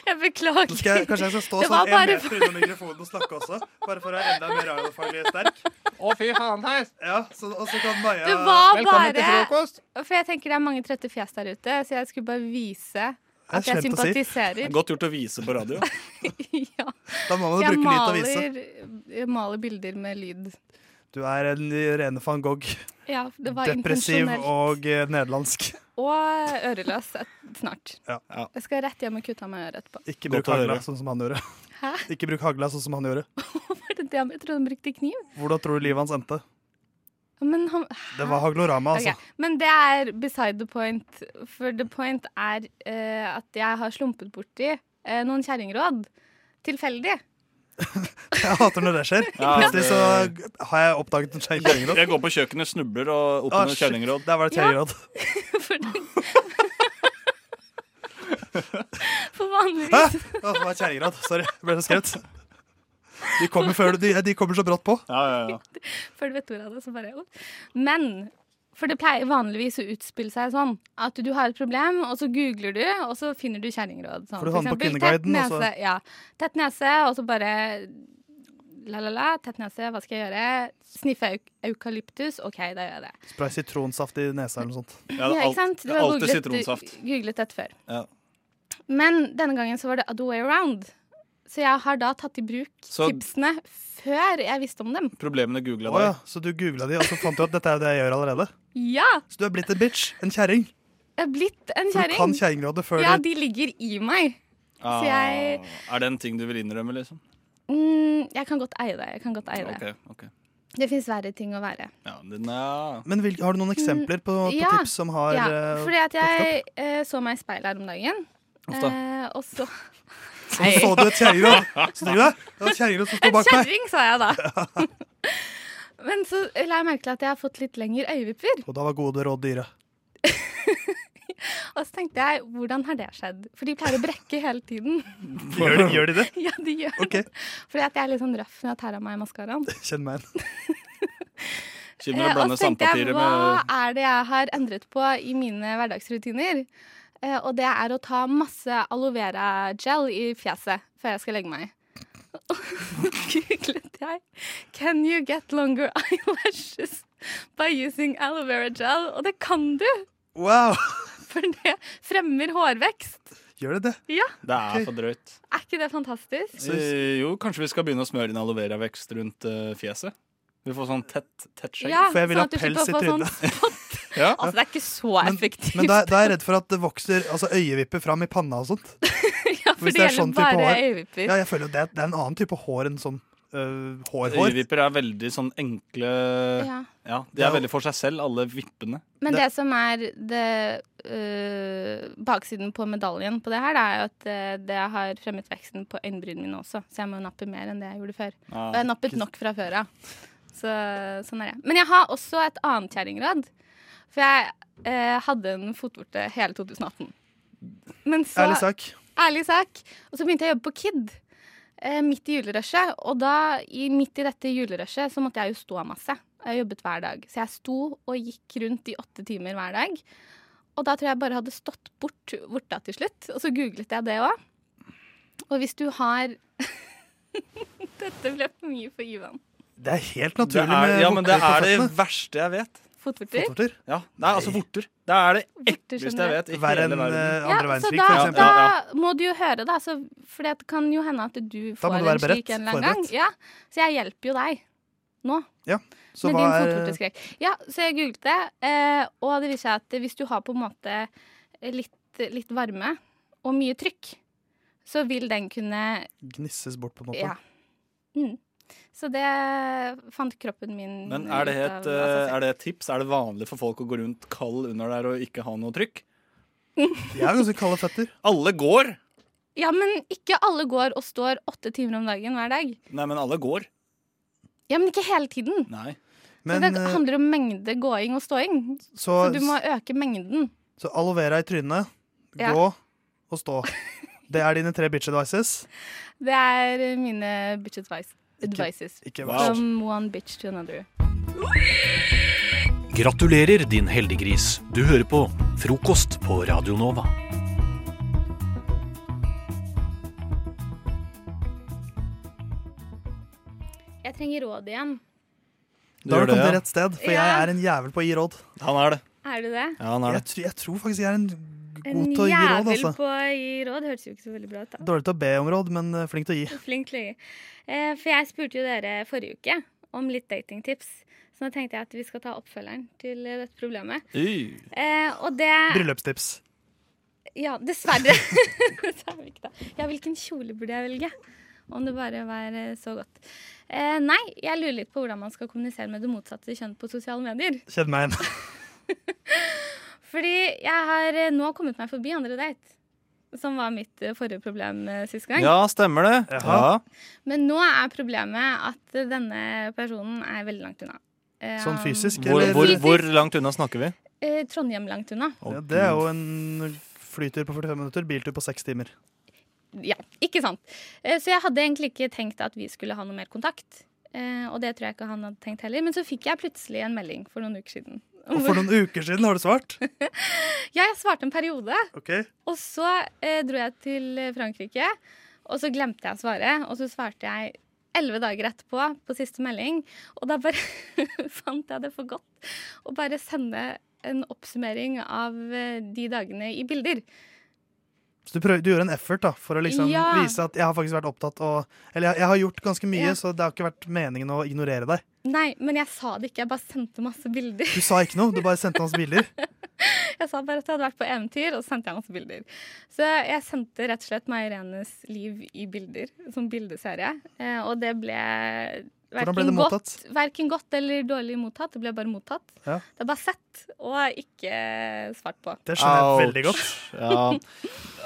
S4: Jeg beklager.
S8: Så skal jeg, kanskje jeg skal stå
S10: Det var
S8: sånn en
S10: bare
S8: meter unna mikrofonen og snakke også? Bare for å være enda mer radiofaglig sterk. Å, fy faen, heis! Ja, så, og så kan Maja
S4: Det var bare For jeg tenker det er mange trøtte fjes der ute, så jeg skulle bare vise at jeg sympatiserer.
S10: Godt gjort å vise på radio.
S8: Da må man
S4: jeg
S8: bruke lyd til å vise.
S4: maler, jeg maler bilder med lyd.
S8: Du er en rene van Gogh.
S4: Ja, det var
S8: Depressiv
S4: intensjonelt.
S8: og eh, nederlandsk.
S4: Og øreløs et- snart.
S8: Ja.
S4: Jeg skal rett hjem og kutte av meg øret etterpå.
S8: Ikke
S10: Godt
S8: bruk
S10: å
S8: hagla
S10: høre.
S8: sånn som han gjorde.
S4: Hæ?
S8: Ikke bruk hagla sånn som han gjorde.
S4: Var det det han Jeg trodde han brukte kniv.
S8: Hvordan tror du livet hans endte?
S4: Men han
S8: Det var haglorama, altså.
S4: Ok, Men det er beside the point. For the point er eh, at jeg har slumpet borti eh, noen kjerringråd. Tilfeldig.
S8: Jeg hater når det skjer.
S10: Ja,
S8: Plutselig
S10: det-
S8: så har jeg oppdaget en kjerringråd.
S10: Jeg går på kjøkkenet, snubler og
S8: Å,
S10: åpner
S8: shit.
S10: kjerringråd.
S8: Der var det kjerringråd.
S4: For
S8: Hæ?
S4: vanligvis
S8: Å, det var kjerringråd. Sorry, jeg ble så skrevet. De kommer, før, du- de, de kommer så brått på.
S4: Før du vet ordet av det, så bare oh. Men for det pleier vanligvis å utspille seg sånn at du har et problem, og så googler du, og så finner du kjerringråd. Sånn.
S8: For du havner på altså.
S4: eksempel,
S8: Kvinneguiden,
S4: tett
S8: og så-
S4: nese, Ja. Tett nese, og så bare la, la, la. Tett nese, hva skal jeg gjøre? Sniffe euk eukalyptus? OK, da gjør jeg det.
S8: Spray sitronsaft i nesa eller noe sånt.
S4: Ja, ikke sant? Du har googlet, googlet dette før. Men denne gangen så var det other way around. Så jeg har da tatt i bruk
S10: Så-
S4: tipsene før jeg visste om dem.
S10: Problemene googla
S8: Å ja, så du googla de, og så fant du at dette er jo det jeg gjør allerede?
S4: Ja!
S8: Så du er blitt en bitch. En kjerring.
S4: Jeg er blitt en
S8: For du
S4: kjerring.
S8: kan kjerringrådet før
S4: Ja,
S8: du
S4: de ligger i meg. Så jeg
S10: Ah, Er det en ting du vil innrømme, liksom?
S4: mm, Jeg kan godt eie det. Jeg kan godt eie det.
S10: Ok, ok.
S4: Det fins verre ting å være.
S10: Ja, den er...
S8: Men vil, har du noen eksempler på,
S4: Mm,
S8: på
S4: Ja,
S8: tips som har
S4: ja.
S8: eh,
S4: Fordi at
S8: dukket opp?
S4: jeg eh, så meg i speilet her om dagen.
S8: Uff da.
S4: Eh, og så
S8: Så så du et kjerringråd. Så tenkte du det? Det var et kjerringråd som sto
S4: En
S8: bak meg.
S4: kjerring, sa jeg da. Men så la jeg merke til at jeg har fått litt lengre øyevipper.
S8: Og da var gode råd dyre.
S4: Og så tenkte jeg, hvordan har det skjedd? For de pleier å brekke hele tiden.
S8: Gjør de, gjør de det?
S4: Ja, de gjør det. Fordi at jeg er litt sånn røff når jeg tar av meg maskaraen.
S8: Kjenn meg igjen.
S10: Kjenner du
S4: Eh, og
S10: blander
S4: så tenkte jeg,
S10: sandpapiret
S4: hva
S10: med
S4: er det jeg har endret på i mine hverdagsrutiner? Eh, og det er å ta masse aloe vera gel i fjeset før jeg skal legge meg. Og så googlet jeg 'Can you get longer eyelashes by using aloe vera gel?' Og det kan du,
S8: Wow!
S4: for det fremmer hårvekst.
S8: Gjør det det?
S4: Ja,
S10: Det er for drøyt.
S4: er ikke det fantastisk?
S10: Eh, Jo, kanskje vi skal begynne å smøre inn aloe vera-vekst rundt eh, fjeset? Vi får sånn tett, tett skjegg.
S4: Ja, For jeg vil sånn ha at du pels slipper å i få sånn trynet.
S10: ja.
S4: Altså, det er ikke så effektivt.
S8: Men da, da er jeg redd for at det vokser altså, øyevipper fram i panna og sånt.
S4: ja, for det
S8: Hvis er
S4: gjelder
S8: sånn type
S4: bare
S8: hår.
S4: øyevipper.
S8: Ja, jeg føler jo det, det er en annen type hår enn sånn øh, hår-hår.
S10: Øyevipper er veldig sånn enkle ja.
S4: Ja.
S10: de er veldig for seg selv, alle vippene.
S4: Men det, som er det, øh, baksiden på medaljen på det her, da, er jo at øh, det har fremmet veksten på øyenbrynene mine også. Så jeg må jo nappe mer enn det jeg gjorde før.
S13: Ja,
S4: og jeg nappet
S13: ikke-
S4: nok fra før av. Så sånn er det. Men jeg har også et annet kjerringråd. For jeg øh, hadde en fotvorte hele 2018. Men så
S8: Ærlig sak.
S4: Ærlig sak. Og så begynte jeg å jobbe på Kid. eh, Midt i julerushet. Og da, i, midt i dette julerushet, så måtte jeg jo stå masse. Jeg jobbet hver dag. Så jeg sto og gikk rundt i åtte timer hver dag. Og da tror jeg jeg bare hadde stått bort borta til slutt. Og så googlet jeg det òg. Og hvis du har Dette ble for mye for Ivan.
S8: Det er helt naturlig
S10: Det er-
S8: med
S10: ja, men det er det
S8: vorter på
S10: verste jeg vet.
S4: Fotvorter?
S10: Ja, Nei, altså vorter. Det er det
S4: Vorter
S10: ekleste jeg vet. i
S8: Verre
S10: hele
S8: enn,
S10: verden.
S8: eh,
S4: så da, da må du jo høre, da. Så, for det kan jo hende at du
S8: Da
S4: får
S8: må du være
S4: en slik
S8: beredt,
S4: en eller annen gang.
S8: forberedt.
S4: Ja, så jeg hjelper jo deg nå.
S8: Ja, så
S4: med
S8: hva
S4: din
S8: er-
S4: fotvorteskrekk. Ja, så jeg googlet det, eh, og det viser seg at hvis du har på en måte litt, litt varme og mye trykk, så vil den kunne
S8: Gnisses bort, på en måte.
S4: Ja. Mm. Så det fant kroppen min
S10: Men er det,
S4: ut
S10: et,
S4: av,
S10: eh,
S4: altså,
S10: er det et tips? Er det vanlig for folk å gå rundt kald under der og ikke ha noe trykk?
S8: Jeg har ganske kalde føtter.
S10: Alle går!
S4: Ja, men ikke alle går og står åtte timer om dagen hver dag.
S10: Nei, men alle går.
S4: Ja, men ikke hele tiden.
S10: Nei.
S8: Men,
S4: så det
S8: eh,
S4: handler om mengde gåing og ståing. Så,
S8: Så-
S4: du må øke mengden.
S8: Så aloe vera i trynet,
S4: Ja.
S8: gå og stå. Det er dine tre bitch advices.
S4: Det er eh, mine bitch advice, advices.
S8: ikke verst.
S4: From one bitch to another.
S2: Gratulerer, din heldiggris. Du hører på Frokost på Radio Nova.
S4: Jeg trenger råd igjen.
S8: eh, Da har
S10: gjør
S8: du
S10: det,
S8: kommet til
S10: ja.
S8: rett sted, for
S4: Ja.
S8: jeg er en jævel på å gi råd.
S10: Han er det.
S4: Er du det?
S10: Ja, han er
S8: jeg,
S10: det.
S8: tr jeg tror faktisk jeg er en
S4: En
S8: god til å gi råd,
S4: jævel
S8: altså.
S4: på å gi råd høres jo ikke så veldig bra ut. da.
S8: Dårlig til å be om råd, men eh, flink til å gi.
S4: Flink til å gi. Eh, For jeg spurte jo dere forrige uke om litt datingtips. Så nå tenkte jeg at vi skal ta oppfølgeren til eh, dette problemet. Eh, og det
S8: Bryllupstips.
S4: Ja, dessverre. Så er vi ikke det. ja, hvilken kjole burde jeg velge? Om det bare var eh, så godt. Eh, nei, jeg lurer litt på hvordan man skal kommunisere med det motsatte kjønn på sosiale medier.
S8: Kjenn meg igjen.
S4: Fordi jeg har eh, nå kommet meg forbi andre date, som var mitt eh, forrige problem eh, sist gang.
S10: Ja, stemmer det. Ja.
S4: Men nå er problemet at eh, denne personen er veldig langt unna. Eh,
S10: Sånn
S4: han-
S8: fysisk,
S10: Hvor,
S8: eller-
S10: hvor,
S8: Fysisk.
S10: hvor langt unna snakker vi?
S4: Eh, Trondheim langt unna.
S8: Ja, det er jo en flytur på 45 minutter, biltur på 6 timer.
S4: Ja, ikke sant. Eh, Så jeg hadde egentlig ikke tenkt at vi skulle ha noe mer kontakt. Eh, Og det tror jeg ikke han hadde tenkt heller. Men så fikk jeg plutselig en melding for noen uker siden.
S8: Og for noen uker siden har du svart.
S4: Ja, jeg svarte en periode.
S8: Ok.
S4: Og så eh, dro jeg til Frankrike, og så glemte jeg å svare. Og så svarte jeg elleve dager etterpå på siste melding. Og da bare fant jeg det for godt å bare sende en oppsummering av eh, de dagene i bilder.
S8: Så du, prøv, du gjorde en effort da, for å liksom
S4: Ja.
S8: vise at jeg har faktisk vært opptatt og, Eller jeg, jeg har gjort ganske mye,
S4: Ja.
S8: så det har ikke vært meningen å ignorere deg.
S4: Nei, men jeg sa det ikke. Jeg bare sendte masse bilder.
S8: Du sa ikke noe, du bare sendte hans bilder.
S4: Jeg sa bare at jeg hadde vært på eventyr, og så sendte jeg masse bilder. Så jeg sendte rett og slett Maja Irenes liv i bilder, som bildeserie. Eh, Og det ble
S8: Hvordan ble
S4: verken
S8: det
S4: godt,
S8: mottatt?
S4: verken godt eller dårlig mottatt. Det ble bare mottatt.
S8: Ja.
S4: Det er bare sett og ikke svart på.
S8: Det skjønner jeg veldig
S10: Ouch.
S8: godt.
S10: Ja.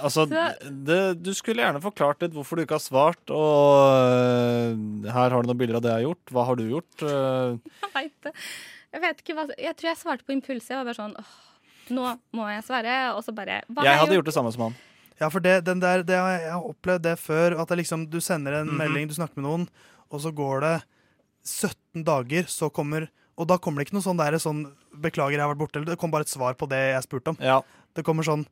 S10: Altså,
S4: Så-
S10: det, du skulle gjerne forklart litt hvorfor du ikke har svart, og øh, her har du noen bilder av det jeg har gjort. Hva har du gjort? Øh,
S4: Jeg vet det. Jeg vet ikke hva Jeg tror jeg svarte på impuls. Jeg var bare sånn åh, nå må jeg svare. Og så bare hva har
S10: jeg hadde
S4: gjort?
S10: gjort det samme som han.
S8: Ja, for det, den der, det har jeg, jeg har opplevd det før. At det liksom, du sender en
S10: Mhm.
S8: melding, du snakker med noen, og så går det 17 dager, så kommer Og da kommer det ikke noe sånn der, sånn 'beklager, jeg har vært borte', eller det kommer bare et svar på det jeg spurte om. Det kommer sånn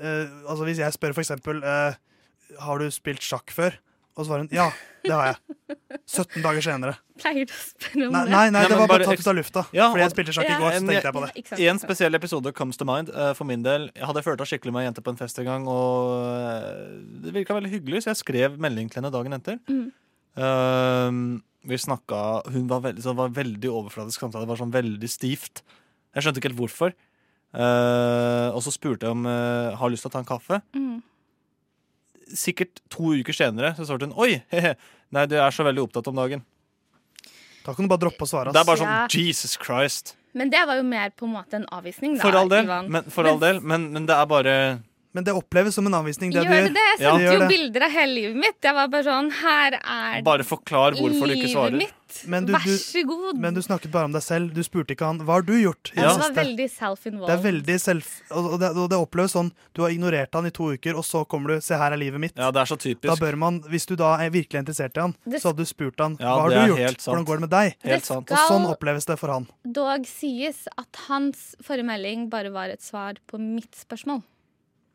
S8: eh, Altså Hvis jeg spør for eksempel eh, 'Har du spilt sjakk før?' Og så svarer hun 'ja, det har jeg'. 17 dager senere.
S4: Pleier du å spørre om
S8: Nei,
S4: det?
S8: nei, nei det
S10: men
S8: var bare
S10: bare
S8: tatt
S10: eks-
S8: ut av lufta.
S10: Ja,
S8: fordi jeg
S10: og-
S8: spilte sjakk i går, så
S10: En-
S8: tenkte jeg på det.
S4: Ikke sant,
S10: I en
S4: ikke sant.
S10: spesiell episode comes to mind. eh, For min del, jeg hadde flørta skikkelig med ei jente på en fest en gang, og eh, det virka veldig hyggelig, så jeg skrev melding til henne dagen etter.
S4: Mm.
S10: Ehm, vi snakka Hun var veldig, sånn, var veldig overfladisk samtale. Det var sånn veldig stivt. Jeg skjønte ikke helt hvorfor. Eh, og så spurte jeg om uh, har lyst til å ta en kaffe.
S4: Mm.
S10: Sikkert to uker senere så svarte hun oi, he-he, nei, du er så veldig opptatt om dagen.
S8: Da kan du bare droppe å svare.
S10: Det er bare
S4: ass.
S10: sånn
S4: Ja.
S10: Jesus Christ.
S4: Men det var jo mer på en måte en avvisning, da.
S10: For all del,
S4: Ivan.
S10: men, for all del men, men det er bare
S8: Men det oppleves som en avvisning. Det
S4: Gjør
S8: du
S4: det det? Jeg
S8: Ja.
S4: sendte
S8: Gjør
S4: jo
S8: det.
S4: bilder av hele livet mitt. Jeg var bare sånn Her er
S10: forklar
S4: livet mitt.
S8: Men du,
S4: Vær
S8: du,
S4: så god.
S8: men du snakket bare om deg selv. Du spurte ikke han hva har du gjort. i
S4: Ja, det var
S8: det siste?»
S4: veldig
S8: Det er
S4: self-involved.
S8: veldig selv... Og og det, og det oppleves sånn, du har ignorert han i to uker, og så kommer du, se her er livet mitt.
S10: Ja, det er så typisk.
S8: Da bør man, hvis du da er virkelig interessert i han,
S4: Det-
S8: så hadde du spurt han,
S10: Ja,
S8: hva har
S10: det
S8: du
S10: er helt
S8: gjort?
S10: sant.
S8: Hvordan går det med deg?
S10: Helt Det sant.
S8: Og sånn
S4: skal-
S8: oppleves det for han.
S4: Dog sies at hans forrige melding bare var et svar på mitt spørsmål.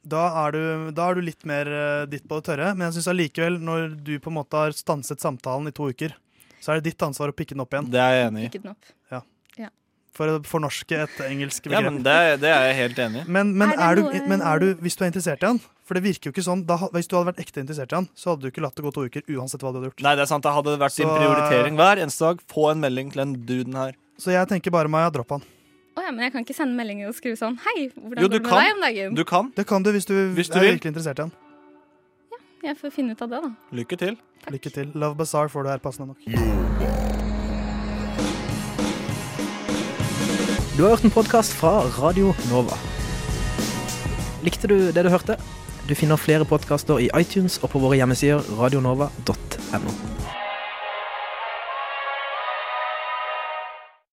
S8: Da er du, da er du litt mer eh, ditt på det tørre, men jeg synes allikevel, når du på en måte har stanset samtalen i to uker, så er det ditt ansvar å pikke den opp igjen.
S10: Det er jeg enig i.
S4: Ikke den opp.
S8: Ja.
S4: Ja.
S8: For å fornorske et engelsk
S10: Ja,
S8: begrep.
S10: men det, det er jeg helt enig i.
S8: Men, men,
S10: Er det
S8: er du,
S10: noe-
S8: men er du, hvis du er interessert i han For det virker jo ikke sånn da, ha- Hvis du hadde vært ekte interessert i han Så hadde du ikke latt det gå to uker uansett hva du hadde gjort
S10: Nei, det er sant. Det hadde vært din
S8: Så-
S10: prioritering hver eneste dag. Få en melding til den duden her.
S8: Så jeg tenker bare Maja, dropp han
S4: Å ja, men jeg kan ikke sende meldinger og skrive sånn Hei, hvordan
S8: Jo,
S4: går det
S8: du
S4: med
S8: kan.
S4: deg om dagen?
S10: Du kan.
S8: Det kan du hvis du,
S10: Hvis du
S8: er
S10: vil.
S8: virkelig interessert i han
S4: Jeg får finne ut av det, da.
S10: Lykke til
S8: Lykke til Love Bazaar får du her passende nok
S3: Du har hørt en podkast fra Radio Nova. Likte du det du hørte? Du finner flere podkaster i iTunes og på våre hjemmesider radionova.no.